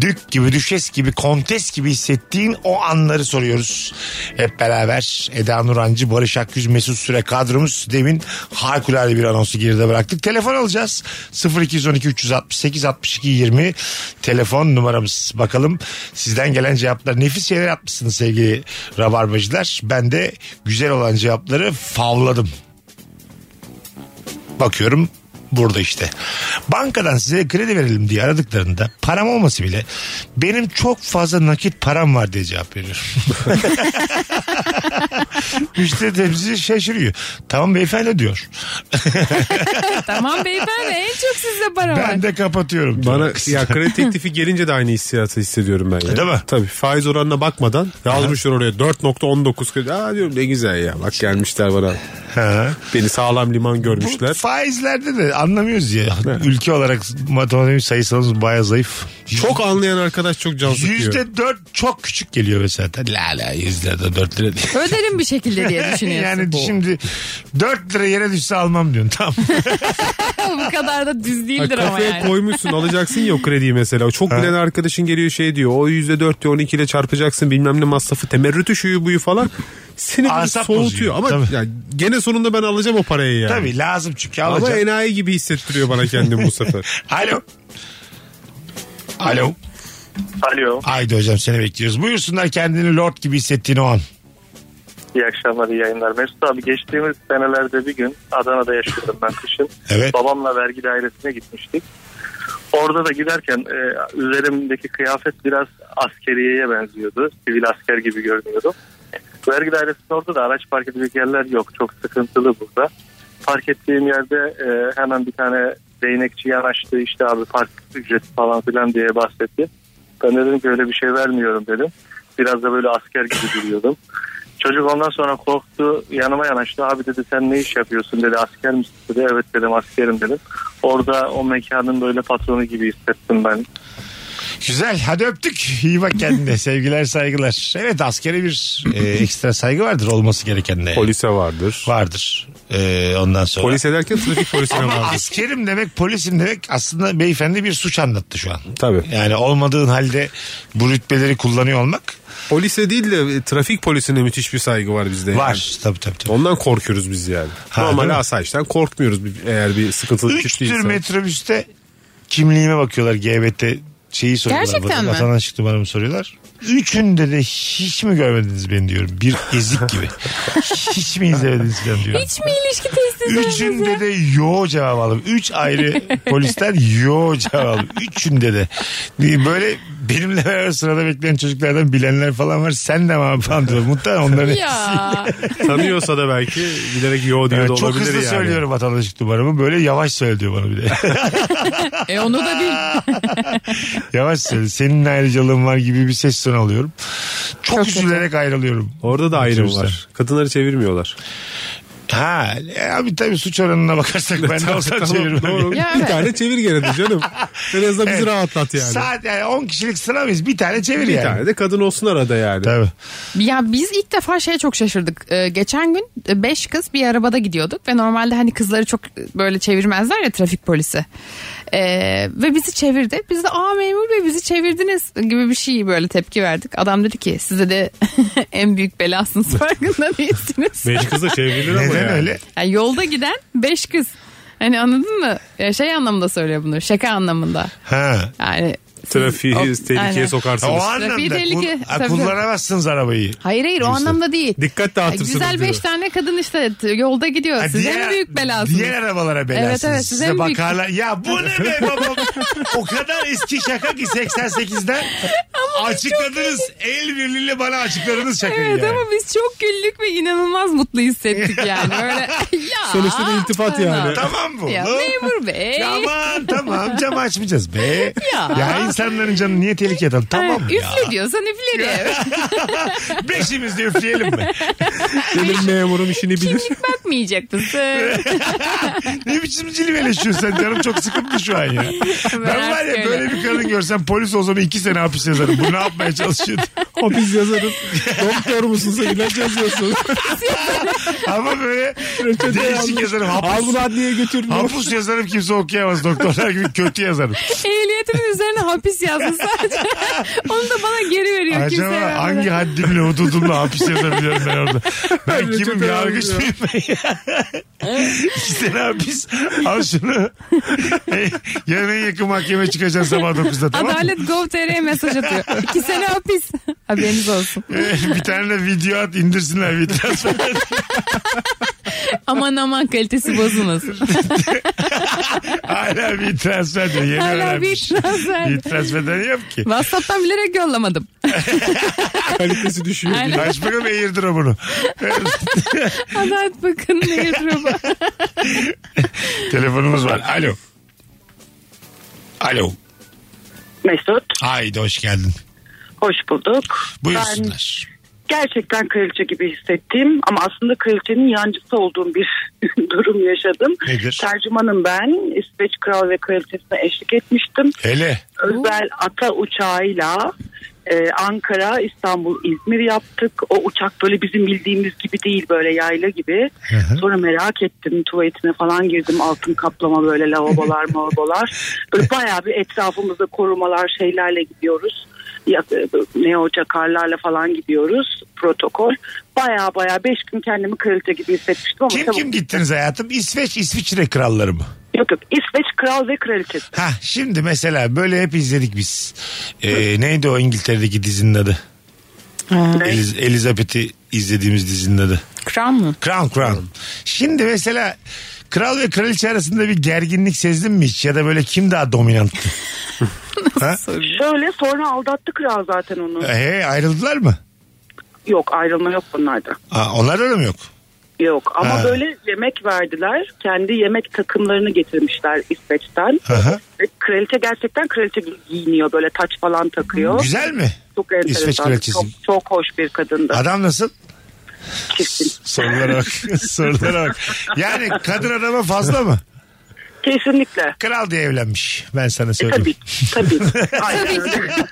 Dük gibi düşes gibi kontes gibi hissettiğin o anları soruyoruz Hep beraber Eda Nurancı Barış Akyüz Mesut Süre kadromuz Demin harikulade bir anonsu geride bıraktık Telefon alacağız 0212 368 62 20 Telefon numaramız bakalım sizden gelen cevaplar nefis şeyler atmışsınız sevgili rabarbacılar ben de güzel olan cevapları favladım bakıyorum burada işte. Bankadan size kredi verelim diye aradıklarında param olması bile benim çok fazla nakit param var diye cevap veriyorum. Müşteri temsilcisi şaşırıyor. Tamam beyefendi diyor.
Tamam beyefendi en çok sizde para var.
Ben de kapatıyorum. diyor.
Bana ya kredi teklifi gelince de aynı hissiyatı hissediyorum ben ya.
Değil mi?
Tabii faiz oranına bakmadan yazmışlar oraya 4.19 kredi. Aa diyorum ne güzel ya bak gelmişler bana.
Ha.
Beni sağlam liman
Bu
görmüşler.
faizlerde de anlamıyoruz ya. Ülke olarak matematik sayısalımız bayağı zayıf.
Çok anlayan arkadaş çok can sıkıyor.
Yüzde dört çok küçük geliyor mesela. La la yüzde de dört lira diye.
Öderim bir şekilde diye düşünüyorsun.
yani şimdi 4 lira yere düşse almam diyorsun. Tamam.
Bu kadar da düz
Ha,
değildir ama
kafaya
yani.
koymuşsun alacaksın ya o krediyi mesela. Çok bilen arkadaşın geliyor şey diyor. O yüzde dört diyor 12 ile çarpacaksın bilmem ne masrafı temerrütü şuyu buyu falan. Seni bir
Asap bozuyor.
soğutuyor ama
Tabii.
ya gene sonunda ben alacağım o parayı yani.
Tabii lazım çünkü
Ama
alacağım.
enayi gibi hissettiriyor bana kendimi bu sefer.
Alo. Alo.
Alo.
Haydi hocam seni bekliyoruz. Buyursunlar kendini lord gibi hissettiğin o an.
İyi akşamlar, iyi yayınlar. Mesut abi geçtiğimiz senelerde bir gün Adana'da yaşıyordum ben kışın.
Evet.
Babamla vergi dairesine gitmiştik. Orada da giderken e, üzerimdeki kıyafet biraz askeriyeye benziyordu. Sivil asker gibi görünüyordu. Vergi dairesinin orada da araç park edecek yerler yok. Çok sıkıntılı burada. Park ettiğim yerde e, hemen bir tane değnekçi yanaştı. İşte abi park ücreti falan filan diye bahsetti. Ben de dedim ki öyle bir şey vermiyorum dedim. Biraz da böyle asker gibi duruyordum. Çocuk ondan sonra korktu yanıma yanaştı. Abi dedi sen ne iş yapıyorsun dedi asker misin dedi. Evet dedim askerim dedim. Orada o mekanın böyle patronu gibi hissettim ben.
Güzel hadi öptük. İyi bak kendine. Sevgiler saygılar. Evet askere bir e, ekstra saygı vardır olması gereken de.
Polise vardır.
Vardır. E, ondan sonra.
Polis ederken trafik polisine
Ama
vardır.
askerim demek polisim demek aslında beyefendi bir suç anlattı şu an.
Tabii.
Yani olmadığın halde bu rütbeleri kullanıyor olmak
Polise değil de e, trafik polisine müthiş bir saygı var bizde. yani.
var. Tabii tabii tabii.
Ondan korkuyoruz biz yani.
Ha, değil
Normal
mi?
asayişten korkmuyoruz bir- eğer bir sıkıntılı
Üç tür
kitleyse.
metrobüste kimliğime bakıyorlar GBT şeyi soruyorlar.
Gerçekten
bana.
mi?
Vatandaşlık numaramı soruyorlar. Üçünde de hiç mi görmediniz beni diyorum. Bir ezik gibi. hiç mi izlemediniz falan diyorum.
Hiç mi ilişki testi izlemediniz ya?
Üçünde de yo cevap aldım. Üç ayrı polisten yo cevap aldım. Üçünde de. Böyle benimle beraber sırada bekleyen çocuklardan bilenler falan var. Sen de mi abi falan diyor. Muhtemelen onların hepsi.
Ya.
Tanıyorsa da belki bilerek yo diyor
Evet,
da olabilir
çok hızlı
yani.
söylüyorum vatandaşlık numaramı. Böyle yavaş söyle diyor bana bir de.
e onu da bil.
yavaş söyle. Senin ayrıcalığın var gibi bir ses tonu alıyorum. Çok,
Çok
üzülerek ayrılıyorum.
Orada da ayrım var. Kadınları çevirmiyorlar.
Ha, e, abi tabii suç oranına bakarsak ben de olsam çevirmem.
doğru.
Ya
Bir
evet.
tane çevir gene de canım. En azından bizi
Evet.
rahatlat yani.
Saat yani 10 kişilik sıra mıyız? Bir tane çevir
bir
yani.
tane de kadın olsun arada yani.
Tabii.
Ya biz ilk defa şeye çok şaşırdık. Ee, geçen gün 5 kız bir arabada gidiyorduk ve normalde hani kızları çok böyle çevirmezler ya trafik polisi. Ee, ve bizi çevirdi. Biz de aa memur bey bizi çevirdiniz gibi bir şey böyle tepki verdik. Adam dedi ki size de en büyük belasınız farkında değilsiniz.
Beş kız da çevrilir ama
Neden
yani.
öyle?
Yani yolda giden 5 kız. Hani anladın mı? Ya şey anlamında söylüyor bunu. Şaka anlamında.
Ha.
Yani siz-
Trafiği
o-
tehlikeye
Aynen.
sokarsınız.
O
Trafiği
anlamda
tehlike,
kul- ha,
tabii.
kullanamazsınız arabayı.
Hayır hayır o anlamda değil.
Dikkat
Ya
dağıtırsınız
Güzel
diyor.
beş tane kadın işte t- yolda gidiyor.
Ha,
Size en büyük belasınız.
Diğer arabalara belasınız.
Evet, evet, siz
Size
en büyük-
bakarlar. Ya bu ne be babam? o kadar eski şaka ki 88'den açıkladınız. El birliğiyle bana açıkladınız şakayı
Evet
yani.
ama biz çok güldük ve inanılmaz mutlu hissettik yani. Öyle ya.
Sonuçta bir iltifat yani.
Tamam bu.
Ya memur bey.
Aman tamam cam açmayacağız be. Ya,
Ya.
insanların canını niye tehlikeye atalım? Tamam
Ha,
ya.
Üfle diyorsan üflerim.
Beşimiz de üfleyelim mi?
Benim memurum işini bilir.
Kimlik bakmayacak mısın?
ne biçim cilveleşiyorsun sen canım çok sıkıntı şu an ya. Ben var ya
artık
böyle
öyle.
bir kadın görsem polis olsam iki sene hapis yazarım. Bu ne yapmaya çalışıyor?
Hapis yazarım. Doktor musun sen ilaç yazıyorsun.
Ama böyle
Reçete
değişik
yazmış.
yazarım.
Al
Hapus,
bunu adliyeye götür.
hapus yazarım kimse okuyamaz. Doktorlar gibi kötü yazarım.
Ehliyetimin üzerine hapis yazdı sadece. Onu da bana geri veriyor. kimse vermeden.
Acaba hangi haddimle hududumla hapis yazabiliyorum ben orada? Ben
Reçete
kimim yargıç
yazmıyor.
mıyım ben ya? İki sene hapis. Al şunu. E, Yarın en yakın mahkeme çıkacaksın sabah 9'da tamam mı?
Adalet Gov.tr'ye mesaj atıyor. İki sene hapis. Haberiniz olsun.
E, bir tane de video at indirsinler bir transfer.
Aman aman kalitesi bozulmasın.
Hala bir transfer diyor. Yeni
Hala bir
öğrenmiş.
transfer.
Bir transferden yok ki.
WhatsApp'tan bilerek yollamadım.
Kalitesi düşüyor.
Aynen.
Aç bakalım airdrop'unu.
Adalet Bakanı airdrop'a.
Telefonumuz var. Alo. Alo.
Mesut
Haydi hoş geldin.
hoş bulduk. Ben
Buyursunlar.
gerçekten kraliçe gibi hissettiğim ama aslında kraliçenin yancısı olduğum bir durum yaşadım.
Nedir?
Tercümanım ben. İsveç Kral ve Kraliçesine eşlik etmiştim.
Hele.
Özel ata uçağıyla e, Ankara, İstanbul, İzmir yaptık. O uçak böyle bizim bildiğimiz gibi değil böyle yayla gibi.
hı.
Sonra merak ettim tuvaletine falan girdim. Altın kaplama böyle lavabolar mavabolar. Böyle bayağı bir etrafımızda korumalar şeylerle gidiyoruz. Ya- e, Ne o çakarlarla falan gidiyoruz protokol. Baya baya 5 gün kendimi kraliçe gibi hissetmiştim ama
Kim
tabii-
kim gittiniz hayatım? İsveç, İsviçre kralları mı?
Yok yok İsveç kral ve kraliçesi.
Ha şimdi mesela böyle hep izledik biz. Ee, neydi o İngiltere'deki dizinin adı? Eliz- Elizabeth'i izlediğimiz dizinin adı.
Kral mı?
Crown Crown. Şimdi mesela kral ve kraliçe arasında bir gerginlik sezdin mi hiç? Ya da böyle kim daha dominanttı?
Şöyle sonra aldattı kral zaten onu.
He, ayrıldılar mı?
Yok ayrılma yok bunlarda.
Aa, onlar öyle mi yok?
Yok ama
Ha.
böyle yemek verdiler. Kendi yemek takımlarını getirmişler İsveç'ten.
Hı hı.
Ve kraliçe gerçekten kraliçe gibi giyiniyor. Böyle taç falan takıyor.
Güzel mi?
Çok enteresan.
İsveç kraliçesi.
Çok, çok hoş bir kadındı.
Adam nasıl?
Kesin.
Sorulara bak. Sorulara bak. Yani kadın adama fazla mı?
Kesinlikle.
Kral diye evlenmiş. Ben sana
E,
söyleyeyim.
tabii. Tabii. Aynen
Tabii
öyle.
ki.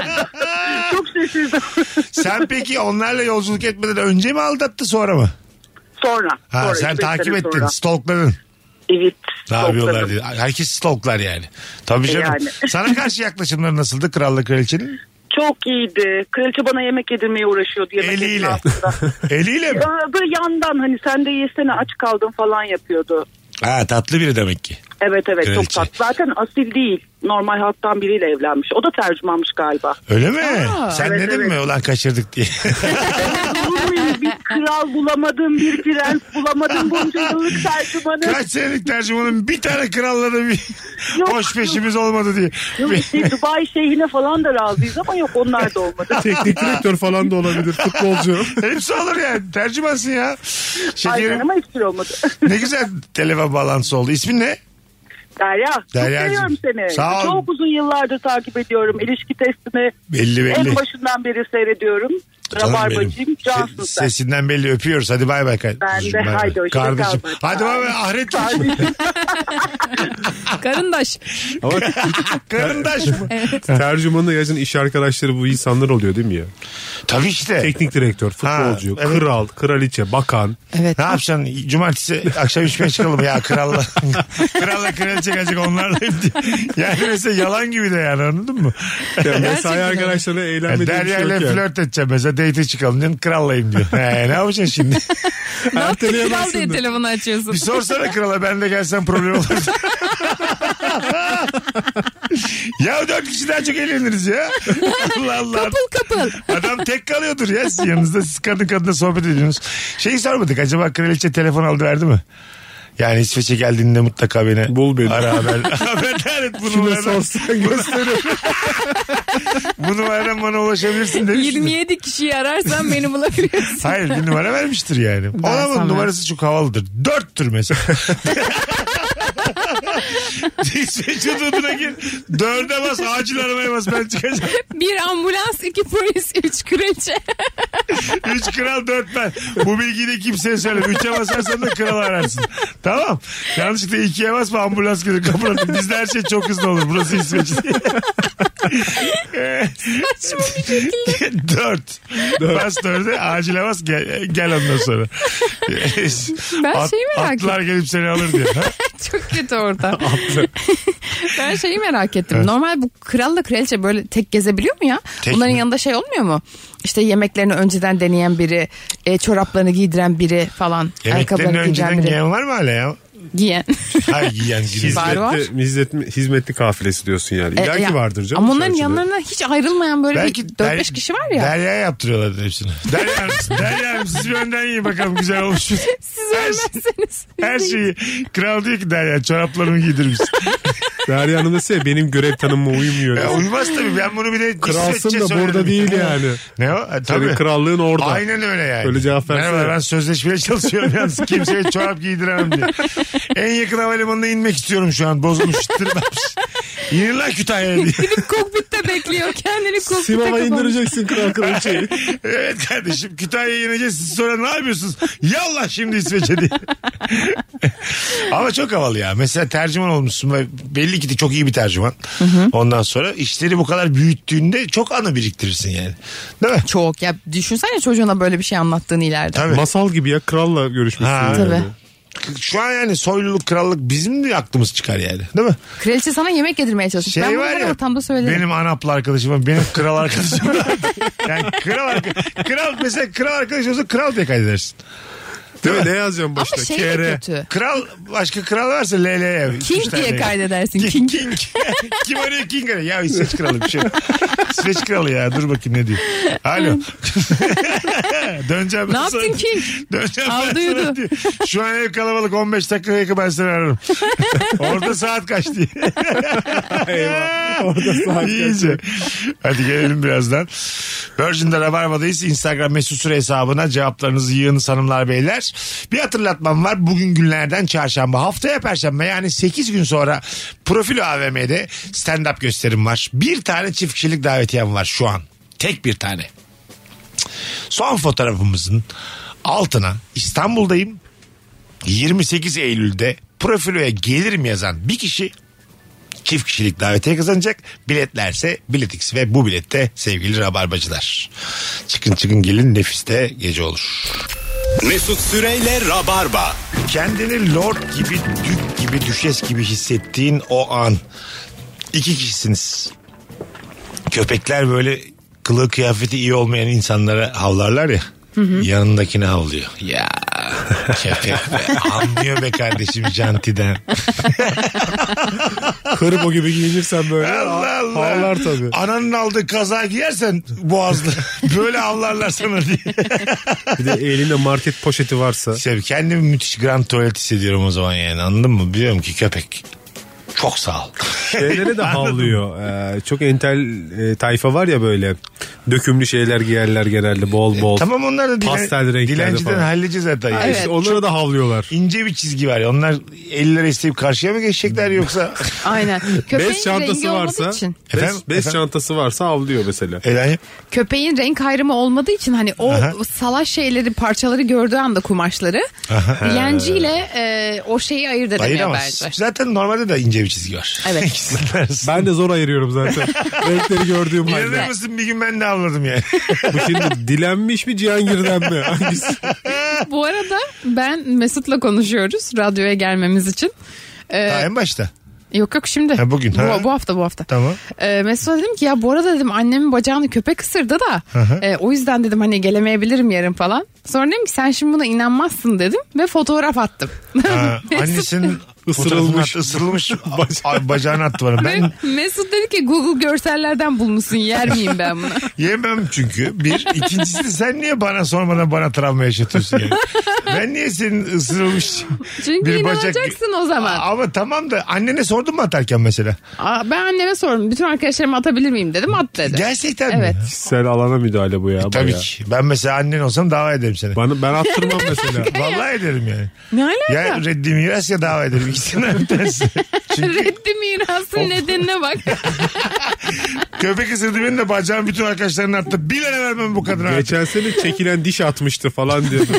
Çok şaşırdım.
Sen peki onlarla yolculuk etmeden önce mi aldattı sonra mı?
Sonra.
Ha,
sonra,
sen
İsveç
takip
sene
ettin.
sonra.
Stalkladın.
Evet.
Ne yapıyorlar
topladım.
diye. Herkes stalklar yani. Tabii canım.
Yani.
Sana karşı yaklaşımları nasıldı kralla kraliçenin?
Çok iyiydi. Kraliçe bana yemek yedirmeye uğraşıyordu. Yemek
Eliyle.
esnasında.
Eliyle mi?
Ee, Böyle yandan hani sen de yesene aç kaldın falan yapıyordu.
Ha tatlı biri demek ki.
Evet evet çok
Kraliçe.
tatlı. Zaten asil değil. Normal halktan biriyle evlenmiş. O da tercümanmış galiba.
Öyle mi? Sen
Evet,
dedin
evet.
mi ulan kaçırdık diye.
Vallahi bir kral bulamadım, bir prens bulamadım bunca yıllık tercümanı.
Kaç senelik tercümanın bir tane kralla da bir
Yok.
boş peşimiz olmadı diye.
Yok işte Dubai şeyhine falan da razıyız ama yok onlar da olmadı.
Teknik direktör falan da olabilir futbolcu.
Hepsi olur yani. Tercümansın ya.
Aynen
Şekerim.
ama hiçbir şey olmadı.
Ne güzel telefon bağlantısı oldu. İsmin ne?
Derya, çok
Deryacığım,
seviyorum seni.
sağ ol.
Çok uzun yıllardır takip ediyorum. İlişki testini
Belli belli.
en başından beri seyrediyorum.
Canım
Rabarbacıyım,
benim.
cansın
Se-
sen.
Sesinden belli öpüyoruz. Hadi bay bay. kar-
Ben de.
Bay bay.
Haydi hoşça kal.
Kardeşim. Hadi bay bay. Ahiret olsun.
Karındaş.
Ama
Karındaş mı?
tercümanla yazın iş arkadaşları bu insanlar oluyor değil mi ya?
Tabii işte.
Teknik direktör, futbolcu,
evet.
kral, kraliçe, bakan.
Evet.
Ne yapacaksın? Cumartesi akşam içmeye çıkalım ya kralla. kralla kraliçe gelecek onlarla. yani mesela yalan gibi de yani anladın mı?
Ya
Gerçekten
mesai
öyle.
arkadaşları
Yani
eğlenmediği bir
Derya
şey
ile
yok yani.
flört edeceğim mesela date çıkalım diyorsun krallayım diyor. He, ne yapacaksın şimdi?
ne yaptın?
erteleyemezsin
Kral diye
de.
telefonu açıyorsun.
Bir şey sorsana krala ben de gelsem problem olur. ya dört kişi daha çok eğleniriz ya. Allah Allah.
Kapıl kapıl.
Adam tek kalıyordur ya sizin yanınızda. Siz kadın kadına sohbet ediyorsunuz. Şeyi sormadık. Acaba kraliçe telefon aldı verdi mi? Yani İsveç'e geldiğinde mutlaka beni
Bul beni.
ara haber. Haberdar et bunu.
Kime sorsan gösteririm.
Bu numaradan bana ulaşabilirsin demiştin.
27 kişiyi ararsan beni bulabilirsin.
Hayır bir numara vermiştir yani. Ona bunun
sanmıyorum.
numarası çok havalıdır. Dörttür mesela. İsveç hududuna gir. Dörde bas acil aramaya bas ben çıkacağım.
Bir ambulans, iki polis, üç kraliçe.
Üç kral dört ben. Bu bilgiyi de kimseye söyleme. Üçe basarsan da kralı ararsın. Tamam. Yanlışlıkla ikiye basma ambulans gelir kapına. Bizde her şey çok hızlı olur. Burası İsveç diye.
Saçma bir şekilde.
Dört. Bas dörde acile bas gel, gel ondan sonra.
Ben şeyi merak
Atlar gelip seni alır diyor. Ha?
Çok kötü orada. ben şeyi merak ettim. Normal bu kralla kraliçe böyle tek gezebiliyor mu ya?
Tek
Bunların
mi?
yanında şey olmuyor mu? İşte yemeklerini önceden deneyen biri, e, çoraplarını giydiren biri falan.
Yemeklerin
ayakkabılarını giydiren
önceden
biri.
giyen var mı hala ya?
Giyen.
Hayır giyen giyen.
Var, var.
Hizmetli, hizmetli, hizmetli kafilesi diyorsun yani.
E,
İlla ki
ya-
vardır canım.
Ama onların
içerisinde.
yanlarına hiç ayrılmayan böyle bir 4-5
Der-
kişi var ya.
Derya'ya yaptırıyorlardı hepsini. Derya Hanım, Derya Hanım siz bir önden yiyin bakalım güzel olmuş. mu?
Siz ölmezseniz.
Her şeyi. Kral diyor ki Derya çoraplarımı giydirir misin?
Derya Hanım dese ya, benim görev tanımıma uymuyor.
Ya,
diyor.
Uymaz tabii ben bunu bir de
Kralsın
İsveççe
da
söylerim.
burada değil yani.
Ne o? Ha,
Senin
tabii.
krallığın orada.
Aynen öyle yani.
Öyle cevap versene.
Merhaba ben sözleşmeye çalışıyorum yalnız kimseye çorap giydiremem diye. En yakın havalimanına inmek istiyorum şu an bozulmuş tırmanmış. İnin lan Kütahya'ya diye.
Gidip kokpitte bekliyor. Kendini kokpite
Simava
kapamış.
indireceksin kral kraliçeyi.
evet kardeşim Kütahya'ya ineceğiz siz sonra ne yapıyorsunuz? Yallah şimdi İsveç'e diye. Ama çok havalı ya. Mesela tercüman olmuşsun ve belli ki de çok iyi bir tercüman. Ondan sonra işleri bu kadar büyüttüğünde çok anı biriktirirsin yani. Değil mi?
Çok ya düşünsene çocuğuna böyle bir şey anlattığını ileride.
Tabii.
Masal gibi ya kralla görüşmüşsün.
Ha,
yani.
Tabii.
Şu an yani soyluluk, krallık bizim de aklımız çıkar yani. Değil mi?
Kraliçe sana yemek yedirmeye çalışmış.
Şey
ben bunu her ortamda söylerim.
Benim anaplı arkadaşım var, benim kral arkadaşım var. yani kral, arka- kral mesela kral arkadaş olsa kral diye kaydedersin.
Değil mi? Ne yazacağım
Ama
başta?
şey de
Kere.
kötü.
Kral başka kral varsa LL'ye.
King
üç tane
diye
yani.
kaydedersin.
King.
King.
King. Kim arıyor King arıyor? Ya İsveç kralı bir şey. yok. İsveç kralı ya dur bakayım ne diyor. Alo. Döneceğim. ben
Ne yaptın
sonra.
King?
Döneceğim ben
Aldı
sana
yürüdü.
diyor. Şu an ev kalabalık 15 dakika yakın ben seni ararım. Orada saat kaç diye.
Eyvah. Orada saat
İyice. Hadi gelelim birazdan. Virgin'de Rabarba'dayız. Instagram mesut süre hesabına cevaplarınızı yığınız hanımlar beyler. Bir hatırlatmam var. Bugün günlerden çarşamba. Haftaya perşembe yani 8 gün sonra Profilo AVM'de stand-up gösterim var. Bir tane çift kişilik davetiyem var şu an. Tek bir tane. Son fotoğrafımızın altına İstanbul'dayım. 28 Eylül'de profiloya gelirim yazan bir kişi çift kişilik davetiye kazanacak. Biletlerse biletix ve bu bilette sevgili rabarbacılar. Çıkın çıkın gelin nefiste gece olur.
Mesut Süreyle Rabarba.
Kendini lord gibi, dük gibi, düşes gibi hissettiğin o an. İki kişisiniz. Köpekler böyle kılığı kıyafeti iyi olmayan insanlara havlarlar ya. Yanındakine havlıyor. Ya Kefek be. Anlıyor be kardeşim jantiden.
Hırbo gibi giyinirsen böyle.
Allah Allah.
Ağlar tabii.
Ananın aldığı kaza giyersen boğazlı. Böyle avlarlar sana diye.
Bir de elinde market poşeti varsa.
Sev kendimi müthiş grand tuvalet hissediyorum o zaman yani anladın mı? Biliyorum ki köpek. Çok sağ ol.
Şeylere de
Anladın mı?
havlıyor. Ee, çok entel e, tayfa var ya böyle. Dökümlü şeyler giyerler genelde bol bol.
E, Tamam onlar da dilen,
Pastel renklerde
dilenciden
falan.
halledeceğiz zaten. yani.
Ha, işte
Evet.
onlara da havlıyorlar.
İnce bir çizgi var. ya. Onlar ellere isteyip karşıya mı geçecekler yoksa?
Aynen. Köpeğin
Bez çantası
rengi
varsa.
olmadığı için.
Bez,
Efendim?
bez
Efendim? E,
çantası varsa havlıyor mesela.
Elanim.
Köpeğin renk ayrımı olmadığı için hani o salaş şeyleri parçaları gördüğü anda kumaşları yenciyle e, o şeyi ayırt edemiyor
Ayıramaz.
bence.
Zaten normalde de ince bir çizgi var.
Evet.
İkisinin arasında.
Ben de zor ayırıyorum zaten. Renkleri gördüğüm halde.
İnanır mısın bir gün ben de avladım yani.
Bu şimdi dilenmiş mi Cihangir'den mi? Hangisi?
Bu arada ben Mesut'la konuşuyoruz radyoya gelmemiz için. Ee,
Daha en başta.
Yok yok şimdi.
Ha, bugün,
Bu,
ha.
bu hafta bu hafta.
Tamam.
Ee, Mesut'a dedim ki ya bu arada dedim annemin bacağını köpek ısırdı da e, o yüzden dedim hani gelemeyebilirim yarın falan. Sonra dedim ki sen şimdi buna inanmazsın dedim ve fotoğraf attım.
Ha, annesinin
Isırılmış.
ısırılmış. ısırılmış Ay, bacağını attı bana. Ben
Mesut dedi ki Google görsellerden bulmuşsun yer miyim ben bunu?
Yemem çünkü. Bir. ikincisi sen niye bana sormadan bana travma yaşatıyorsun yani? Ben niye senin ısırılmış
Çünkü
bir bacak...
inanacaksın o zaman.
Aa, Ama tamam da annene sordun mu atarken mesela?
Aa, ben anneme sordum bütün arkadaşlarıma atabilir miyim dedim at dedi.
Gerçekten
Evet.
mi?
Kişisel alana müdahale bu ya.
Tabii
baya.
ki. Ben mesela annen olsam dava ederim seni.
Bana, ben attırmam mesela.
Vallahi ederim yani.
Ne alaka?
Ya reddi miras ya dava ederim. İkisinden bir tanesi. Çünkü
Reddi mirasın nedenine bak.
köpek ısırdı beni de bacağım bütün arkadaşlarının attı. Bilene vermem bu kadına. artık.
Geçen sene çekilen diş atmıştı falan diyordu.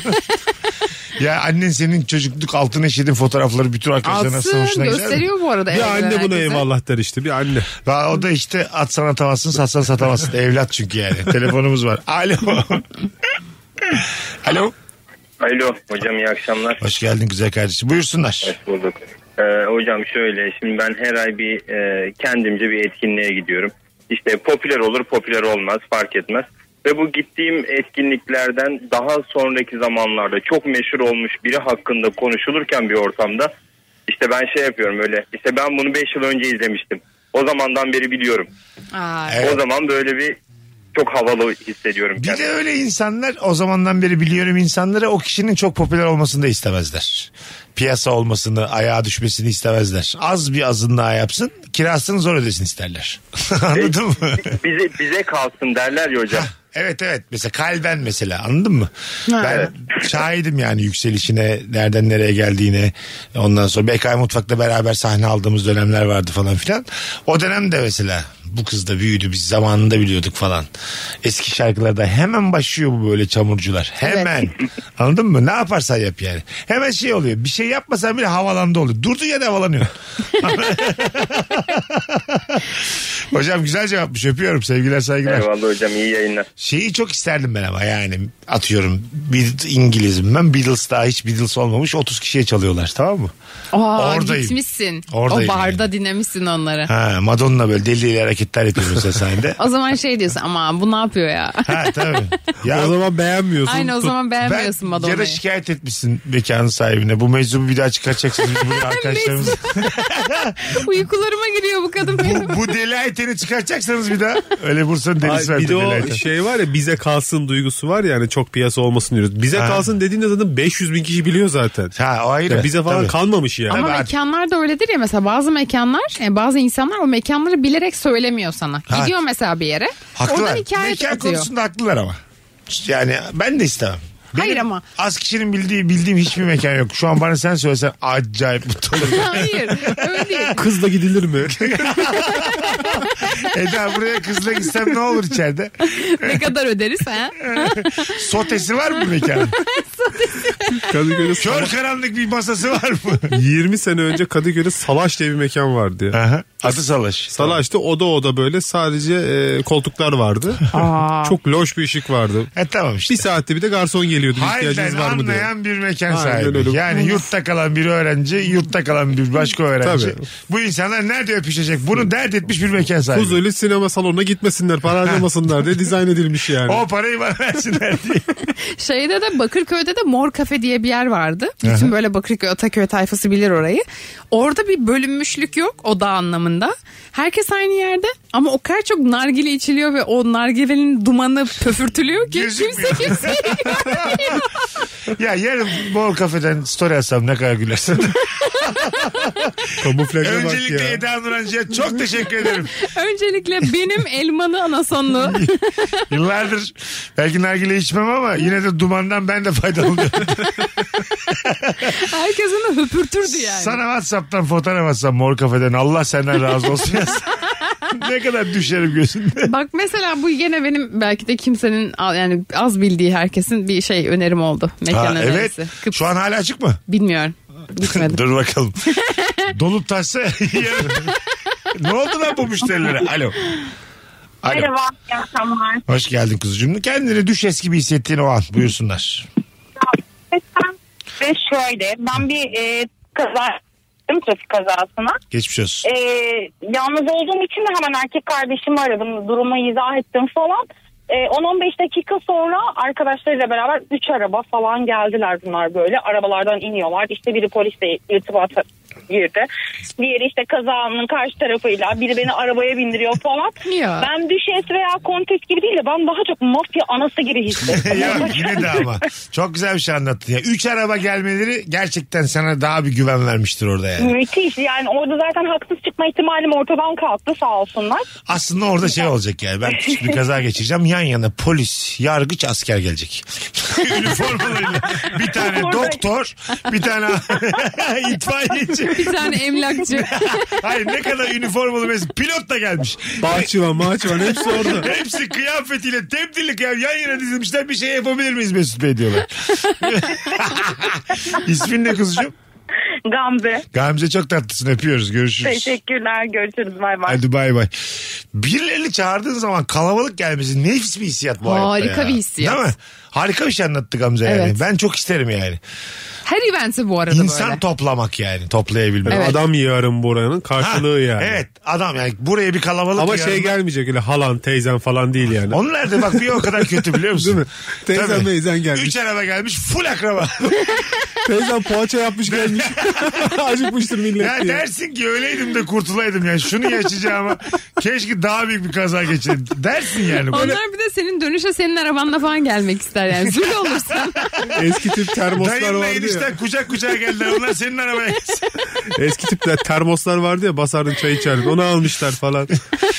Ya annen senin çocukluk altın eşidin fotoğrafları bütün arkadaşlarına nasıl
Atsın
hoşuna gider mi?
gösteriyor bu arada.
Bir
evde
anne buna
herkese.
eyvallah der işte bir anne.
Daha o da işte atsan atamazsın satsan satamazsın. Evlat çünkü yani. Telefonumuz var. Alo. Alo.
Alo hocam iyi akşamlar.
Hoş geldin güzel kardeşim. Buyursunlar.
Hoş bulduk. Ee, hocam şöyle şimdi ben her ay bir e, kendimce bir etkinliğe gidiyorum. İşte popüler olur popüler olmaz fark etmez. Ve bu gittiğim etkinliklerden daha sonraki zamanlarda çok meşhur olmuş biri hakkında konuşulurken bir ortamda işte ben şey yapıyorum öyle işte ben bunu 5 yıl önce izlemiştim. O zamandan beri biliyorum.
Aa,
Evet.
O zaman böyle bir çok havalı hissediyorum.
Bir de
kendimi.
öyle insanlar o zamandan beri biliyorum insanlara o kişinin çok popüler olmasını da istemezler. Piyasa olmasını, ayağa düşmesini istemezler. Az bir azınlığa yapsın, kirasını zor ödesin isterler. Anladın mı?
bize, bize kalsın derler ya hocam.
Evet evet mesela kalben mesela anladın mı? ben şahidim yani yükselişine nereden nereye geldiğine ondan sonra BK Mutfak'ta beraber sahne aldığımız dönemler vardı falan filan. O dönemde mesela bu kız da büyüdü biz zamanında biliyorduk falan. Eski şarkılarda hemen başlıyor bu böyle çamurcular hemen anladın mı ne yaparsan yap yani. Hemen şey oluyor bir şey yapmasan bile havalandı oluyor durdu ya da havalanıyor. Hocam güzel cevapmış öpüyorum sevgiler saygılar.
Eyvallah hocam iyi yayınlar.
Şeyi çok isterdim ben ama yani atıyorum bir İngilizim ben Beatles daha hiç Beatles olmamış 30 kişiye çalıyorlar tamam mı?
Aa,
Oradayım.
gitmişsin.
Oradayım
o barda
yani.
dinlemişsin onları.
Ha, Madonna böyle deli deli hareketler yapıyor mesela sahnede.
O zaman şey diyorsun ama bu ne yapıyor ya?
ha tabii. Ya,
o zaman beğenmiyorsun.
Aynı o
Tut-
zaman beğenmiyorsun
ben ya da
Madonna'yı.
şikayet etmişsin mekanın sahibine. Bu mevzuyu bir daha çıkartacaksınız. Biz bunu arkadaşlarımız.
Uykularıma giriyor bu kadın benim.
bu, bu deli ayetini çıkartacaksınız bir daha. Öyle Bursa'nın
Ay,
delisi var.
bir de
deli
o
ayten.
şey var ya bize kalsın duygusu var ya hani çok piyasa olmasın diyoruz. Bize
Ha.
kalsın dediğinde zaten 500 bin kişi biliyor zaten.
Ha o ayrı.
Ya bize falan
Tabii.
kalmamış yani.
Ama
Tabii.
mekanlar da öyledir ya mesela bazı mekanlar e, bazı insanlar o mekanları bilerek söylemiyor sana.
Ha.
Gidiyor mesela bir yere. Oradan
Haklılar.
hikaye
Mekan
atıyor.
konusunda haklılar ama. Yani ben de istemem. Benim
Hayır ama.
Az kişinin bildiği bildiğim hiçbir mekan yok. Şu an bana sen söylesen acayip mutlu olurum.
Hayır öyle değil.
Kızla gidilir mi?
Eda E buraya kızla gitsem ne olur içeride?
Ne kadar öderiz ha?
Sotesi var mı mekanın?
Kadıköy'de
Kör karanlık bir masası var mı?
20 sene önce Kadıköy'de Salaş diye bir mekan vardı ya.
Aha, adı Salaş.
Salaş'ta oda oda böyle sadece e, koltuklar vardı. Çok loş bir ışık vardı.
E tamam işte.
Bir saatte bir de garson geliyordu. Bir
Halden
ihtiyacınız var mı diye.
anlayan bir mekan
Aynen
sahibi.
öyle.
Yani yurtta kalan bir öğrenci, yurtta kalan bir başka öğrenci.
Tabii.
Bu insanlar nerede öpüşecek? Bunu dert etmiş bir mekan sahibi.
Fuzuli sinema salonuna gitmesinler, para harcamasınlar diye dizayn edilmiş yani.
O parayı bana versinler diye.
Şeyde de Bakırköy'de de Mor Kafe diye bir yer vardı. Bütün böyle Bakırköy, Ataköy tayfası bilir orayı. Orada bir bölünmüşlük yok oda anlamında. Herkes aynı yerde ama o kadar çok nargile içiliyor ve o nargilenin dumanı pöfürtülüyor ki
Gözükmüyor.
kimse kimse.
ya yarın bol kafeden story atsam ne kadar gülersin.
Kamuflaja bak
Öncelikle
ya.
Eda Nurancı'ya çok teşekkür ederim.
Öncelikle benim elmalı anasonlu.
Yıllardır belki nargile içmem ama yine de dumandan ben de faydalanıyorum.
Herkes onu höpürtürdü yani.
Sana Whatsapp'tan fotoğraf atsam mor kafeden Allah senden razı olsun yaz. ne kadar düşerim gözünde.
Bak mesela bu yine benim belki de kimsenin al- yani az bildiği herkesin bir şey önerim oldu. Mekan
Ha, evet.
önerisi. Kıbrıs.
Şu an hala açık mı?
Bilmiyorum. Gitmedim.
Dur bakalım. Dolup taşsa yarın- ne oldu lan bu müşterilere? Alo. Alo.
Merhaba, iyi akşamlar.
Hoş geldin kuzucuğum. Kendini düşes gibi hissettiğin o an. Buyursunlar.
Ve şöyle, ben bir e, kaza yaptım, trafik kazasına.
Geçmiş olsun.
E, yalnız olduğum için de hemen erkek kardeşimi aradım, durumu izah ettim falan. E, 10-15 dakika sonra arkadaşlarıyla beraber 3 araba falan geldiler bunlar böyle. Arabalardan iniyorlar. İşte biri polisle irtibata girdi. Diğeri işte kazanın karşı tarafıyla biri beni arabaya bindiriyor falan.
Ya.
Ben düşes veya kontes gibi değil de ben daha çok mafya anası gibi hissettim.
ya yine de ama. Çok güzel bir şey anlattın ya. Üç araba gelmeleri gerçekten sana daha bir güven vermiştir orada yani.
Müthiş yani orada zaten haksız çıkma ihtimalim ortadan kalktı sağ olsunlar.
Aslında orada şey olacak yani. Ben küçük bir kaza geçireceğim. Yan yana polis, yargıç, asker gelecek. Üniformalarıyla. Bir tane doktor, bir tane itfaiyeci.
Bir tane emlakçı.
Hayır ne kadar üniformalı mesela. Pilot da gelmiş.
Bahçıvan, mahçıvan hepsi orada.
Hepsi kıyafetiyle tebdilli kıyafet yan yana dizilmişler bir şey yapabilir miyiz Mesut Bey diyorlar. İsmin ne kuzucuğum?
Gamze
Gamze çok tatlısın öpüyoruz görüşürüz.
teşekkürler görüşürüz bay bay.
Hadi bay bay. Birilerini çağırdığın zaman kalabalık gelmesi nefis bir hissiyat bu hayatta
Harika
ya.
bir hissiyat.
Değil mi? Harika bir şey anlattı Gamze yani.
Evet.
Ben çok isterim yani.
Her eventi bu arada
İnsan
böyle.
toplamak yani toplayabilmek.
Evet.
Adam yarım buranın
Ha,
karşılığı yani.
Evet adam yani buraya bir kalabalık
Ama şey
yarın-
gelmeyecek öyle halan, teyzen falan değil yani.
Onlar da bak bir o kadar kötü biliyor musun?
Değil mi? Teyzem
Tabii.
meyzen gelmiş.
Üç araba gelmiş full akraba.
Teyzen poğaça yapmış gelmiş. Acıkmıştır millet
ya
diye.
dersin ki öyleydim de kurtulaydım yani şunu yaşayacağıma keşke daha büyük bir kaza geçirdim. Dersin yani. Böyle
Onlar bir de senin dönüşe senin arabanla falan gelmek ister yani. Zül olursan.
Eski tip termoslar
Dayınla
vardı ya.
enişten kucak kucağa geldiler. Onlar senin arabaya gelsin.
Eski tip de termoslar vardı ya basardın çay içerdin. Onu almışlar falan.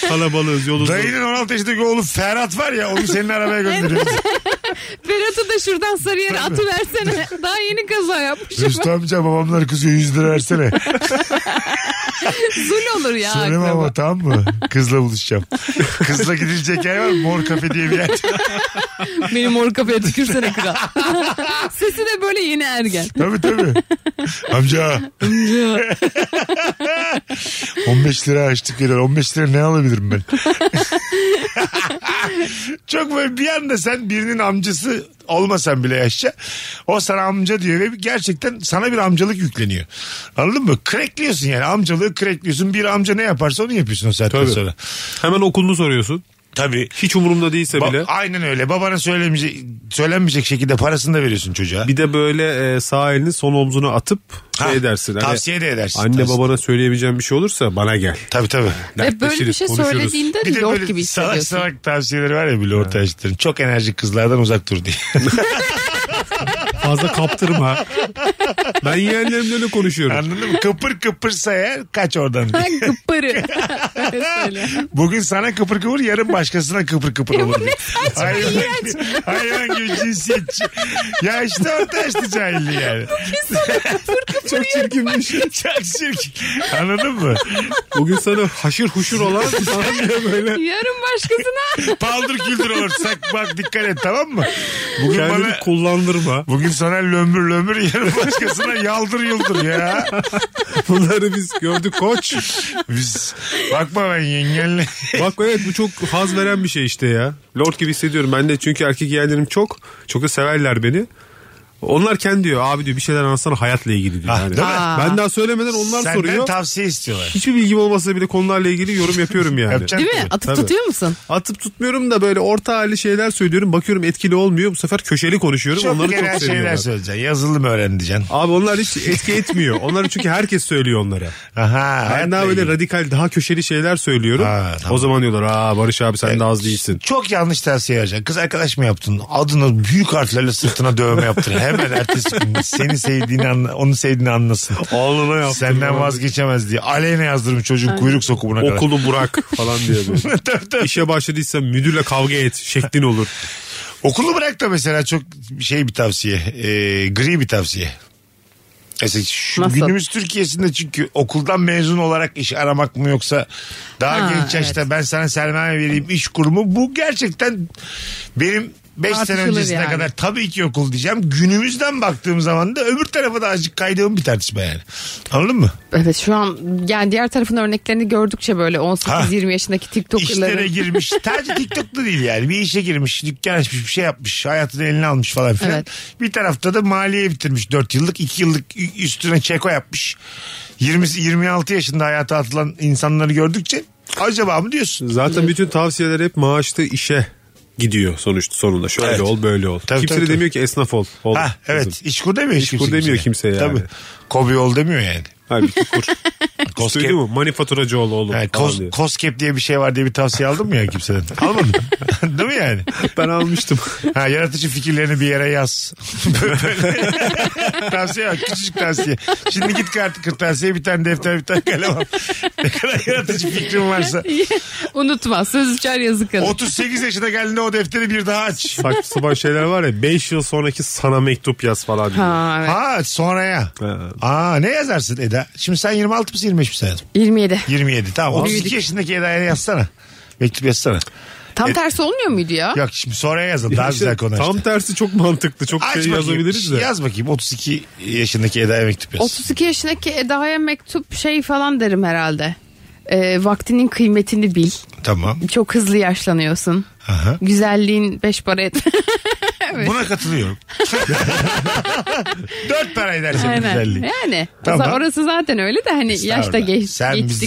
Kalabalığız yolumuz.
Dayının 16 yaşındaki oğlu Ferhat var ya onu senin arabaya gönderiyoruz.
Ferhat'ı da şuradan Sarıyer'e atıversene. Daha yeni kaza yapmış.
Rüstü amca babamlar kızıyor 100 lira versene.
Zul olur ya.
Söyleme
akraba.
ama tamam mı? Kızla buluşacağım. Kızla gidilecek yer var mı? Mor kafe diye bir yer.
Benim mor kafaya tükürsene kral. Sesi de böyle yeni ergen.
Tabii tabii. Amca. 15 lira açtık geliyor. 15 lira ne alabilirim ben? Çok böyle bir anda sen birinin amcası olmasan bile yaşça o sana amca diyor ve gerçekten sana bir amcalık yükleniyor. Anladın mı? Krekliyorsun yani amcalığı krekliyorsun. Bir amca ne yaparsa onu yapıyorsun o saatten
Tabii.
sonra.
Hemen okulunu soruyorsun.
Tabii.
Hiç umurumda değilse
Ba-
bile.
aynen öyle. Babana söylemeyecek, söylenmeyecek şekilde parasını da veriyorsun çocuğa.
Bir de böyle e, sağ elini son omzuna atıp
Ha,
şey dersin. hani
Tavsiye de edersin.
Anne
Tavsiye-
babana söyleyebileceğim bir şey olursa bana gel.
Tabii tabii.
Ve böyle bir
Dertleşiriz,
şey
konuşuruz.
söylediğinde
Bir de
lord
böyle
gibi
salak
hissediyorsun.
salak tavsiyeleri var ya bile orta yaşlıların. Çok enerjik kızlardan uzak dur diye.
Fazla kaptırma. ben yeğenlerimle öyle konuşuyorum.
Anladın mı? Kıpır kıpırsa eğer kaç oradan diye.
Ben kıpırı. Öyle söyle.
Bugün sana kıpır kıpır yarın başkasına kıpır kıpır olur. diye. hayvan, gibi, hayvan gibi cinsiyetçi. Ya işte orta yaşlı cahilliği yani.
Çok çirkinmiş.
Çok çirkin. Anladın mı?
Bugün sana haşır huşur olan sana bile böyle
Yarın başkasına.
Paldır küldür olursak bak dikkat et tamam mı? Bugün
kendini
bana...
kullandırma.
Bugün sana lömür lömür yarın başkasına yaldır yıldır ya.
Bunları biz gördük koç.
Biz bakma ben yengenle.
Bak evet bu çok haz veren bir şey işte ya. Lord gibi hissediyorum ben de çünkü erkek yeğenlerim çok. Çok da severler beni. Onlar kendi diyor abi diyor bir şeyler anlatsana hayatla ilgili diyor.
Ah,
Yani.
değil mi?
Ben daha söylemeden onlar
Senden
soruyor.
tavsiye istiyorlar. şey
Hiçbir bilgim olmasa bile konularla ilgili yorum yapıyorum yani.
Yapacaksın.
Değil mi?
Tabii,
Atıp
tabii.
tutuyor musun?
Atıp tutmuyorum da böyle orta hali şeyler söylüyorum. Bakıyorum etkili olmuyor. Bu sefer köşeli konuşuyorum.
Çok
Onları
genel
çok
şeyler
seviyorlar.
söyleyeceksin. Yazılı mı öğren diyeceksin.
Abi onlar hiç etki etmiyor. Onları çünkü herkes söylüyor onlara.
Aha.
Ben daha böyle radikal, daha köşeli şeyler söylüyorum.
Ha, tamam.
O zaman diyorlar aa Barış abi sen de az değilsin.
Çok yanlış tavsiye vereceksin. Kız arkadaş mı yaptın? Adını büyük harflerle sırtına dövme yaptın. Hemen ertesi gün seni sevdiğini anla, onu sevdiğini anlasın.
Oğluna yaptım.
Senden vazgeçemez diye. Aleyhine yazdırmış çocuğun kuyruk sokumuna kadar.
Okulu bırak falan diyor böyle. İşe başladıysa müdürle kavga et şeklin olur.
Okulu bırak da mesela çok şey bir tavsiye. Ee, gri bir tavsiye. Mesela şu
Nasıl?
günümüz Türkiye'sinde çünkü okuldan mezun olarak iş aramak mı yoksa daha
Ha,
genç yaşta ben sana sermaye vereyim iş kurumu bu gerçekten benim 5 sene
Tartışılır
öncesine
yani.
kadar tabii ki okul diyeceğim. Günümüzden baktığım zaman da öbür tarafa da azıcık kaydığım bir tartışma yani. Anladın mı?
Evet şu an yani diğer tarafın örneklerini gördükçe böyle
Ha.
18-20 yaşındaki
İşlere
TikTok'ları.
girmiş. Sadece TikTok'ta değil yani. Bir işe girmiş, dükkan açmış, bir şey yapmış. Hayatını eline almış falan filan.
Evet.
Bir tarafta da maliye bitirmiş 4 yıllık, 2 yıllık ü- üstüne çeko yapmış. 20 26 yaşında hayata atılan insanları gördükçe acaba mı diyorsun?
Zaten bütün tavsiyeler hep maaşlı işe gidiyor sonuçta sonunda. Şöyle
Evet.
ol böyle ol.
Tabii,
kimse
tabii,
de
tabii.
demiyor ki esnaf ol. ol
Ha evet.
kızım.
İşkur demiyor hiç
İşkur
kimse
demiyor kimse yani.
Tabii. Kobi ol demiyor yani.
Ha, bir tukur.
Koskep-
Duydun mu? Manifaturacı ol oğlum.
Yani
falan
kos,
diyor.
koskep diye bir şey var diye bir tavsiye aldın mı ya kimseden? Almadın. Değil mi yani?
Ben almıştım.
Ha, yaratıcı fikirlerini bir yere yaz. Böyle. tavsiye bak küçücük tavsiye. Şimdi git kart kırtasiye bir tane defter bir tane kalem al. Ne kadar yaratıcı fikrin varsa.
Unutma söz uçar yazı kalır.
38 yaşına geldiğinde o defteri bir daha aç.
Saçma sapan şeyler var ya 5 yıl sonraki sana mektup yaz falan diyor.
Ha, evet.
Ha sonraya.
Ha.
Aa ne yazarsın Eda? Şimdi sen 26 mısın 25 misin hayatım?
27.
27 tamam. 32
Büyüdük.
yaşındaki Eda'ya yazsana. Mektup yazsana.
Tam
Evet.
tersi olmuyor muydu ya?
Yok şimdi sonraya yazalım.
Ya
Daha
işte
güzel konu
Tam
açtı.
tersi çok mantıklı. Çok
Aç
şey
bakayım.
yazabiliriz de.
Yaz bakayım 32 yaşındaki Eda'ya mektup yaz.
32 yaşındaki Eda'ya mektup şey falan derim herhalde. Ee, vaktinin kıymetini bil.
Tamam.
Çok hızlı yaşlanıyorsun.
Aha.
Güzelliğin beş para etmez.
Buna katılıyorum. Dört para eder senin güzelliğin.
Yani.
Tamam.
Mesela Orası zaten öyle de hani yaşta
Estağfurullah.
geç,
Sen
geçtikçe.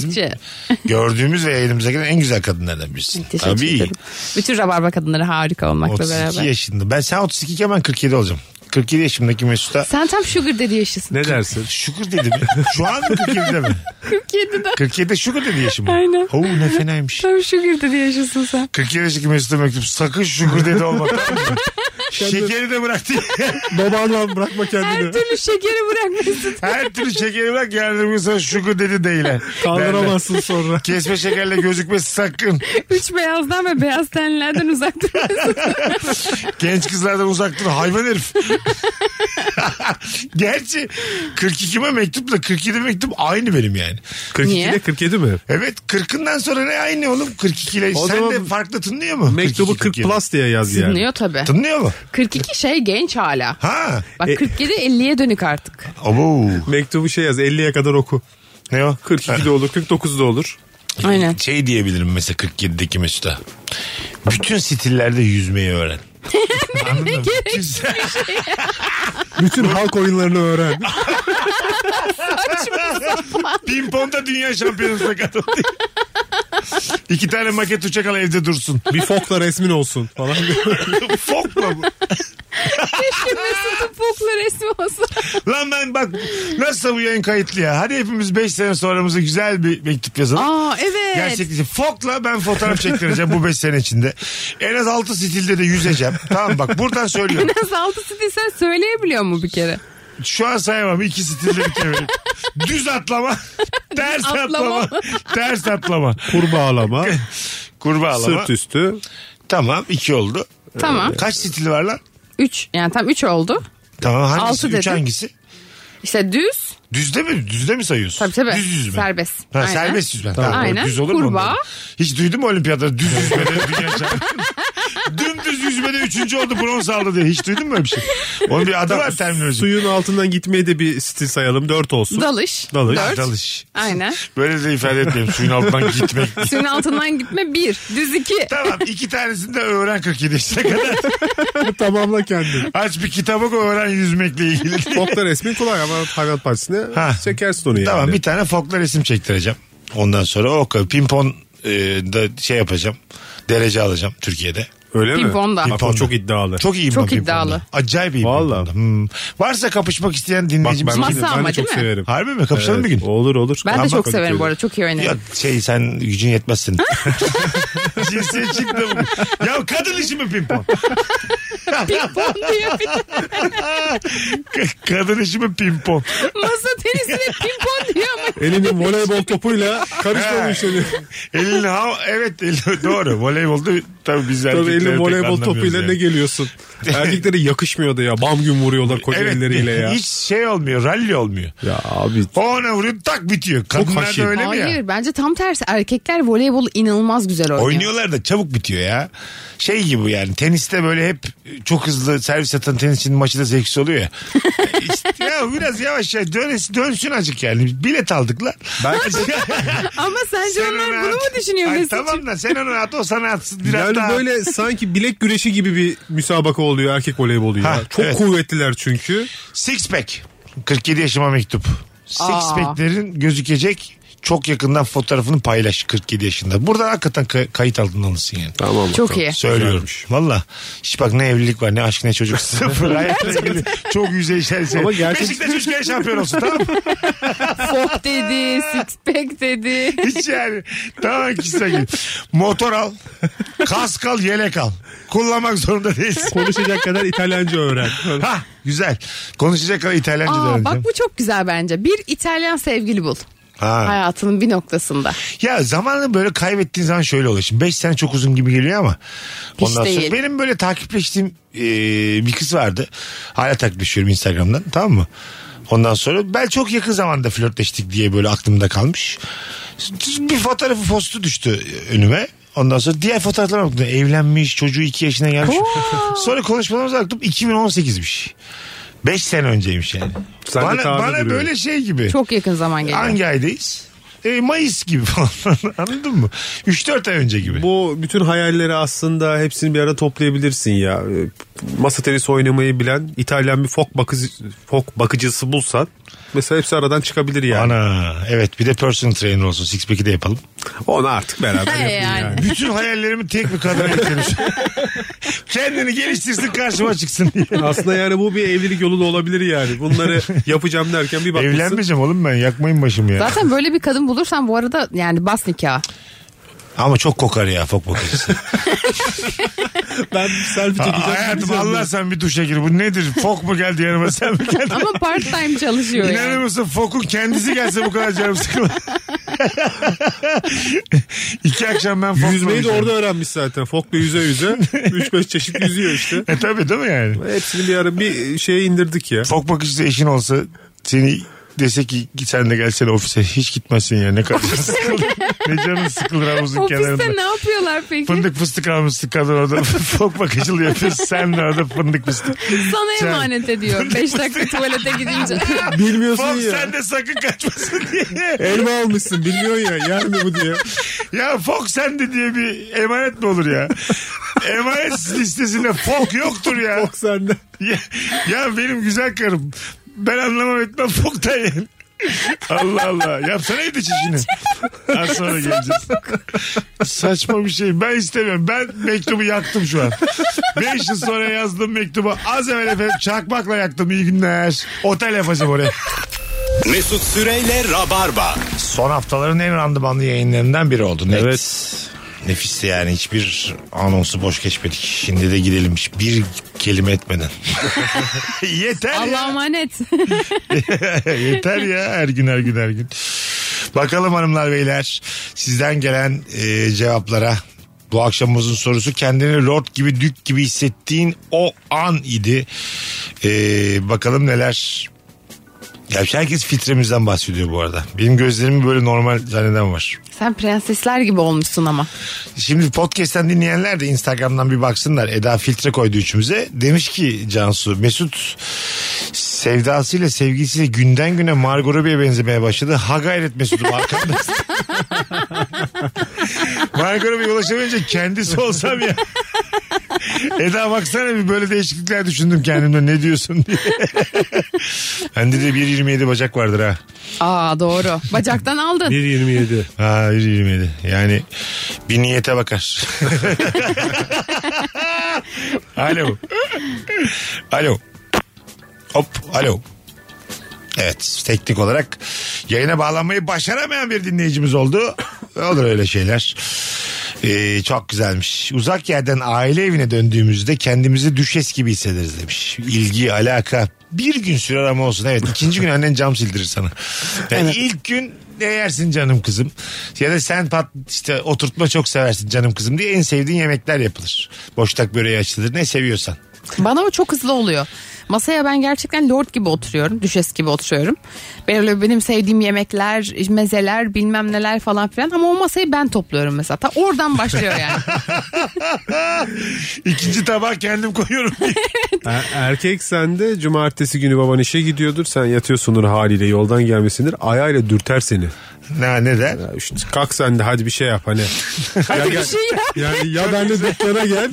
bizim gördüğümüz ve elimize gelen en güzel kadınlardan birisin.
Teşekkür ederim. Bütün rabarba kadınları harika olmakla
32
beraber.
yaşında. Ben sen 32 iken ben 47 olacağım. 47 yaşımdaki Mesut'a
Sen tam sugar dedi yaşısın.
Ne dersin?
şükür dedim. Şu an mı 47'de mi?
47'de
47'de şükür dedi yaşım.
Aynen.
Oo ne fenaymış.
tam sugar dedi yaşısın sen.
47 yaşındaki Mesut'a mektup sakın şükür dedi olma. Şekeri de bıraktı.
Babanla bırakma
Her
kendini.
türlü şekeri bırakmışsın.
Her türlü şekeri bırak yardım sana şükür dedi değil.
Kaldıramazsın sonra.
Kesme şekerle gözükme sakın.
Üç beyazdan ve beyaz tenlilerden uzak durmasın.
Genç kızlardan uzak dur hayvan herif. Gerçi 42'me mektupla 47 mektup aynı benim yani.
42
Niye?
ile 47 mi?
Evet 40'ından sonra ne aynı oğlum 42 ile.
O
Sen
zaman
de farklı tınlıyor mu?
Mektubu
42,
40 plus diye yaz yani.
Dinliyor tabii.
Tınlıyor mu?
42 şey genç hala.
Ha. E-
Bak 47 50'ye dönük artık.
Abo.
Mektubu şey yaz 50'ye kadar oku.
Ne o?
42 de olur 49 da olur.
Aynen.
Şey diyebilirim mesela 47'deki Mesut'a. Bütün stillerde yüzmeyi öğren. Anladın mı? Bütün-
Bütün halk oyunlarını öğren.
Pimponda dünya şampiyonasına katıldı. İki tane maket uçak al evde dursun.
Bir fokla resmin olsun falan.
Fok mu bu?
Keşke Mesut'un fokla resmi olsa.
Lan ben bak nasıl bu yayın kayıtlı ya. Hadi hepimiz 5 sene sonramıza güzel bir mektup yazalım.
Aa evet.
Gerçekten Fok'la ben fotoğraf çektireceğim bu 5 sene içinde. En az 6 stilde de yüzeceğim. tamam bak buradan söylüyorum.
Nasıl altısı değil sen söyleyebiliyor mu bir kere?
Şu an sayamam 2 stilde bitirebilirim. Düz atlama, ters atlama,
atlama.
ters atlama.
Kurbağalama,
Kurbağalama.
sırt üstü.
Tamam 2 oldu.
Tamam.
Kaç stili var lan?
3 yani tam 3 oldu.
Tamam hangisi?
Altı
3
dedim.
hangisi?
İşte düz.
Düzde mi? Düzde mi sayıyorsun?
Tabii tabii.
Düz yüzme.
Serbest.
Ha,
Aynen.
serbest yüzme. Tamam.
Aynen.
Düz olur mu?
Kurbağa.
ondan? Hiç duydun mu olimpiyatları düz yüzmede dünya şampiyonu? düz yüzmede üçüncü oldu bronz aldı diye. Hiç duydun mu öyle bir şey? Onun bir adı var terminoloji.
Suyun altından gitmeyi de bir stil sayalım. Dört olsun.
Dalış.
Dalış.
Dört.
Dalış.
Aynen.
Böyle de ifade etmeyeyim. Suyun altından gitmek.
Suyun altından gitme bir. Düz iki.
tamam iki tanesini de öğren 47 yaşına kadar.
Tamamla kendini.
Aç bir kitaba koy öğren yüzmekle ilgili.
Bokla resmin kolay ama hayvan partisine
Ha.
çekersin onu yani.
Tamam bir tane folkla resim çektireceğim. Ondan sonra o kadar. Pimpon e, da şey yapacağım. Derece alacağım Türkiye'de.
Öyle mi?
Pimponda.
Bak o
Pimponda.
çok iddialı.
Çok iyiyim
Çok
ben pimponda.
iddialı.
Acayip iyiyim.
Vallahi.
pimponda. Hmm. Varsa kapışmak isteyen
Bak
dinleyicimiz.
ben,
Masa
ben de
ama
çok
değil mi?
severim.
Harbi mi? Kapışalım bir
Evet,
gün.
Olur olur.
Ben
Ama
de çok severim
Kadıköy'de.
bu arada. Çok iyi
Ya
oynarım.
şey sen gücün Şey, yetmez senin. Cinsiyetçi de bu. Ya kadın işi mi pimpon?
Pimpon diyor. bir de.
K- kadın işi mi pimpon?
Masa tenisine pimpon diyor ama.
Elinin voleybol topuyla karıştırmış işleri.
Elin ha evet elin, doğru. Voleybolda tabii biz
Tabii
erkekleri
elin
pek
voleybol
anlamıyoruz
topuyla
yani.
ne geliyorsun? Erkeklere yakışmıyor da ya. Bam gün vuruyorlar koca elleriyle ya.
Hiç şey olmuyor, ralli olmuyor.
Ya abi
O ona vuruyor tak bitiyor. Kadınlar da
haşin.
öyle mi ya?
Hayır bence tam tersi. Erkekler voleybolu inanılmaz güzel oynuyor.
Oynuyorlar da çabuk bitiyor ya. Şey gibi yani teniste böyle hep çok hızlı servis atan tenisçinin maçı da zevksiz oluyor ya. İşte ya biraz yavaş yavaş dönesin, dönsün azıcık yani. Bilet aldık lan.
Belki de-
Ama sence
Sen ona
onlar bunu
at.
mu düşünüyor
Ay,
Mesut'cum?
Tamam da sen ona at o sana atsın. Biraz
yani
daha.
böyle sanki bilek güreşi gibi bir müsabaka oluyor erkek voleybolu ya.
Ha,
çok
evet.
kuvvetliler çünkü.
Six pack. 47 yaşıma mektup. Six
Aa.
pack'lerin gözükecek çok yakından fotoğrafını paylaş 47 yaşında. Buradan hakikaten kay- kayıt altına alınsın yani.
Tamam.
Çok iyi.
Söylüyorum. Valla. İşte bak ne evlilik var ne aşk ne çocuk. Sıfır hayatla ilgili çok yüzeysel şey.
Ama gerçek-
Beşiktaş üç kere şampiyon olsun tamam mı?
Fok dedi, six pack dedi.
Hiç yani. Tamam kişisel gibi. Motor al. Kask al yelek al. Kullanmak zorunda değilsin.
Konuşacak kadar İtalyanca öğren.
ha güzel. Konuşacak kadar İtalyanca da
Aa,
öğreneceğim.
bak bu çok güzel bence. Bir İtalyan sevgili bul.
Ha.
Hayatının bir noktasında.
Ya zamanı böyle kaybettiğin zaman şöyle oluyor. Şimdi 5 sene çok uzun gibi geliyor ama.
Hiç
ondan
değil.
sonra benim böyle takipleştiğim e, bir kız vardı. Hala takipleşiyorum Instagram'dan tamam mı? Ondan sonra ben çok yakın zamanda flörtleştik diye böyle aklımda kalmış. Bir fotoğrafı postu düştü önüme. Ondan sonra diğer fotoğraflara baktım. Evlenmiş, çocuğu 2 yaşına gelmiş. sonra konuşmalarımıza baktım 2018'miş. 5 sene önceymiş yani.
Sen de
bana
tahmin
bana
ediyorum.
böyle şey gibi.
Çok yakın zaman geliyor.
Hangi aydayız? E, Mayıs gibi falan. Anladın mı? 3-4 ay önce gibi.
Bu bütün hayalleri aslında hepsini bir arada toplayabilirsin ya. Ee, Masa tenisi oynamayı bilen İtalyan bir fok, bakıcı, fok bakıcısı bulsan mesela hepsi aradan çıkabilir yani.
Ana evet bir de personal trainer olsun. Six pack'i de yapalım.
Onu artık beraber
He
yapın
yani.
yani.
Bütün hayallerimi tek bir kadına getirmiş. Kendini geliştirsin karşıma çıksın diye.
Aslında yani bu bir evlilik yolu da olabilir yani. Bunları yapacağım derken bir bakmışsın.
Evlenmeyeceğim oğlum ben yakmayın başımı ya.
Zaten böyle bir kadın bulursan bu arada yani bas nikah.
Ama çok kokar ya fok bakıcısı.
Ben selfie çekeceğim.
Aa, hayatım
gideceğim
Allah
ben.
sen bir duşa gir. Bu nedir? Fok mu geldi yanıma sen mi geldin?
Ama part time çalışıyor
İnanır
yani.
mısın Fok'un kendisi gelse bu kadar canım sıkılır. İki akşam ben Fok'la
Yüzmeyi de
yüzüyorum.
orada öğrenmiş zaten. Fokla yüze yüze. 3-5 çeşit yüzüyor işte.
E tabii değil mi yani?
Hepsini bir ara bir şeye indirdik ya.
Fok bakıcısı eşin olsa seni dese ki git sen de gelsene ofise hiç gitmezsin ya ne kadar canın sıkılır. ne canın sıkılır havuzun kenarında.
Ofiste ne yapıyorlar peki?
Fındık fıstık almışsın kadın orada fok bakıcılığı yapıyorsun sen de orada fındık fıstık.
Sana
Sen-
emanet ediyor. 5 dakika tuvalete gidince.
Bilmiyorsun
Fok
ya.
sen de sakın kaçmasın diye.
Elma almışsın bilmiyorsun ya. Yer mi bu diye.
Ya fok sen de diye bir emanet mi olur ya? emanet listesinde fok yoktur ya.
Fok sende.
ya, ya benim güzel karım. Ben anlamam etmem foktan yani. Allah Allah. Yapsana evde çişini. Az sonra geleceğiz. Saçma bir şey. Ben istemiyorum. Ben mektubu yaktım şu an. 5 yıl sonra yazdığım mektubu az evvel efendim çakmakla yaktım. İyi günler. Otel yapacağım oraya.
Mesut Süreyle Rabarba.
Son haftaların en randımanlı yayınlarından biri oldu. Net. Nefisti yani hiçbir anonsu boş geçmedik. Şimdi de gidelim hiç bir kelime etmeden. Yeter ya.
Allah'a emanet.
Yeter ya her gün her gün her gün. Bakalım hanımlar beyler sizden gelen e, cevaplara. Bu akşamımızın sorusu kendini lord gibi dük gibi hissettiğin o an idi. E, bakalım neler Ya herkes fitremizden bahsediyor bu arada. Benim gözlerimi böyle normal zanneden var.
Sen prensesler gibi olmuşsun ama.
Şimdi podcast'ten dinleyenler de Instagram'dan bir baksınlar. Eda filtre koydu üçümüze. Demiş ki Cansu Mesut sevdasıyla sevgisiyle günden güne Margot Robbie'ye benzemeye başladı. Ha gayret Mesut'um arkamdasın. Margot Robbie'ye ulaşamayınca kendisi olsam ya. Eda baksana bir böyle değişiklikler düşündüm kendimde ne diyorsun diye. Bende de 1.27 bacak vardır ha.
Aa doğru. Bacaktan aldın.
1.27.
Ha 1.27 yani bir niyete bakar. alo. Alo. Hop alo. Evet teknik olarak yayına bağlanmayı başaramayan bir dinleyicimiz oldu. Olur öyle şeyler. Ee, çok güzelmiş. Uzak yerden aile evine döndüğümüzde kendimizi düşes gibi hissederiz demiş. İlgi, alaka bir gün sürer ama olsun. Evet ikinci gün annen cam sildirir sana. Yani ilk gün ne yersin canım kızım? Ya da sen pat, işte oturtma çok seversin canım kızım diye en sevdiğin yemekler yapılır. Boştak böreği açılır ne seviyorsan.
Bana o çok hızlı oluyor. Masaya ben gerçekten lord gibi oturuyorum. Düşes gibi oturuyorum. Böyle benim sevdiğim yemekler, mezeler bilmem neler falan filan. Ama o masayı ben topluyorum mesela. Ta oradan başlıyor yani.
İkinci tabağı kendim koyuyorum.
Er- erkek sen de cumartesi günü baban işe gidiyordur. Sen yatıyorsundur haliyle yoldan gelmesindir. Ayağıyla dürter seni.
ne neden?
Ya işte kalk sen de hadi bir şey yap hani.
Hadi bir şey yap.
Yani ya benle dükkana gel.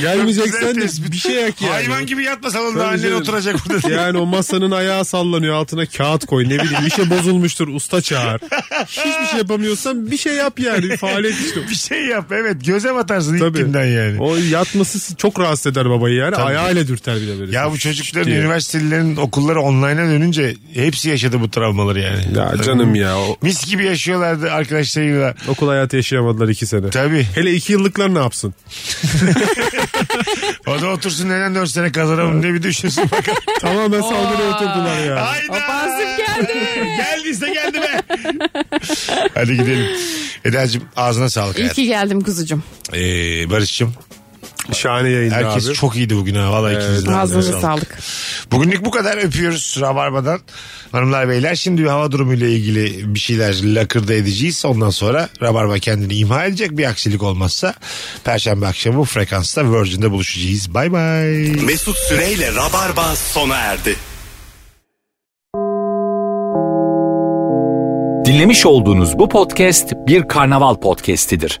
Gelmeyeceksen de bir şey yak yani.
Hayvan gibi yatma
Tabii
salonda annen
canım.
oturacak burada. diye.
Yani o masanın ayağı sallanıyor altına kağıt koy ne bileyim bir şey bozulmuştur usta çağır. Hiçbir şey yapamıyorsan bir şey yap yani bir faaliyet işte.
bir şey yap evet göze batarsın ilk
Tabii.
günden yani.
O yatması çok rahatsız eder babayı yani. Ayağıyla dürter bir de böyle.
Ya bu çocukların
Diye.
üniversitelerin okulları online'a dönünce hepsi yaşadı bu travmaları yani.
Ya canım ya o-
Mis gibi yaşıyorlardı arkadaşlarıyla.
okul hayatı yaşayamadılar iki sene.
Tabii.
Hele iki yıllıklar ne yapsın?
O da otursun neden 4 sene kazanamam diye bir düşünsün bakalım.
Tamamen saldırıya oturdular ya.
Hayda.
Bazım geldi.
Geldiyse geldi be. Hadi gidelim. Eda'cığım ağzına sağlık.
İyi
hayatım.
ki geldim kuzucum.
Ee, Barış'cığım
Şahane yayındı
herkes
abi.
çok iyiydi bugün ha. Vallahi ikinizin de
Ağzınıza sağlık.
Bugünlük bu kadar öpüyoruz Rabarba'dan. Hanımlar beyler şimdi bir hava durumuyla ilgili bir şeyler lakırda edeceğiz. Ondan sonra Rabarba kendini imha edecek bir aksilik olmazsa. Perşembe akşamı bu frekansta Virgin'de buluşacağız. Bay bay.
Mesut Süreyle Rabarba sona erdi.
Dinlemiş olduğunuz bu podcast bir karnaval podcastidir.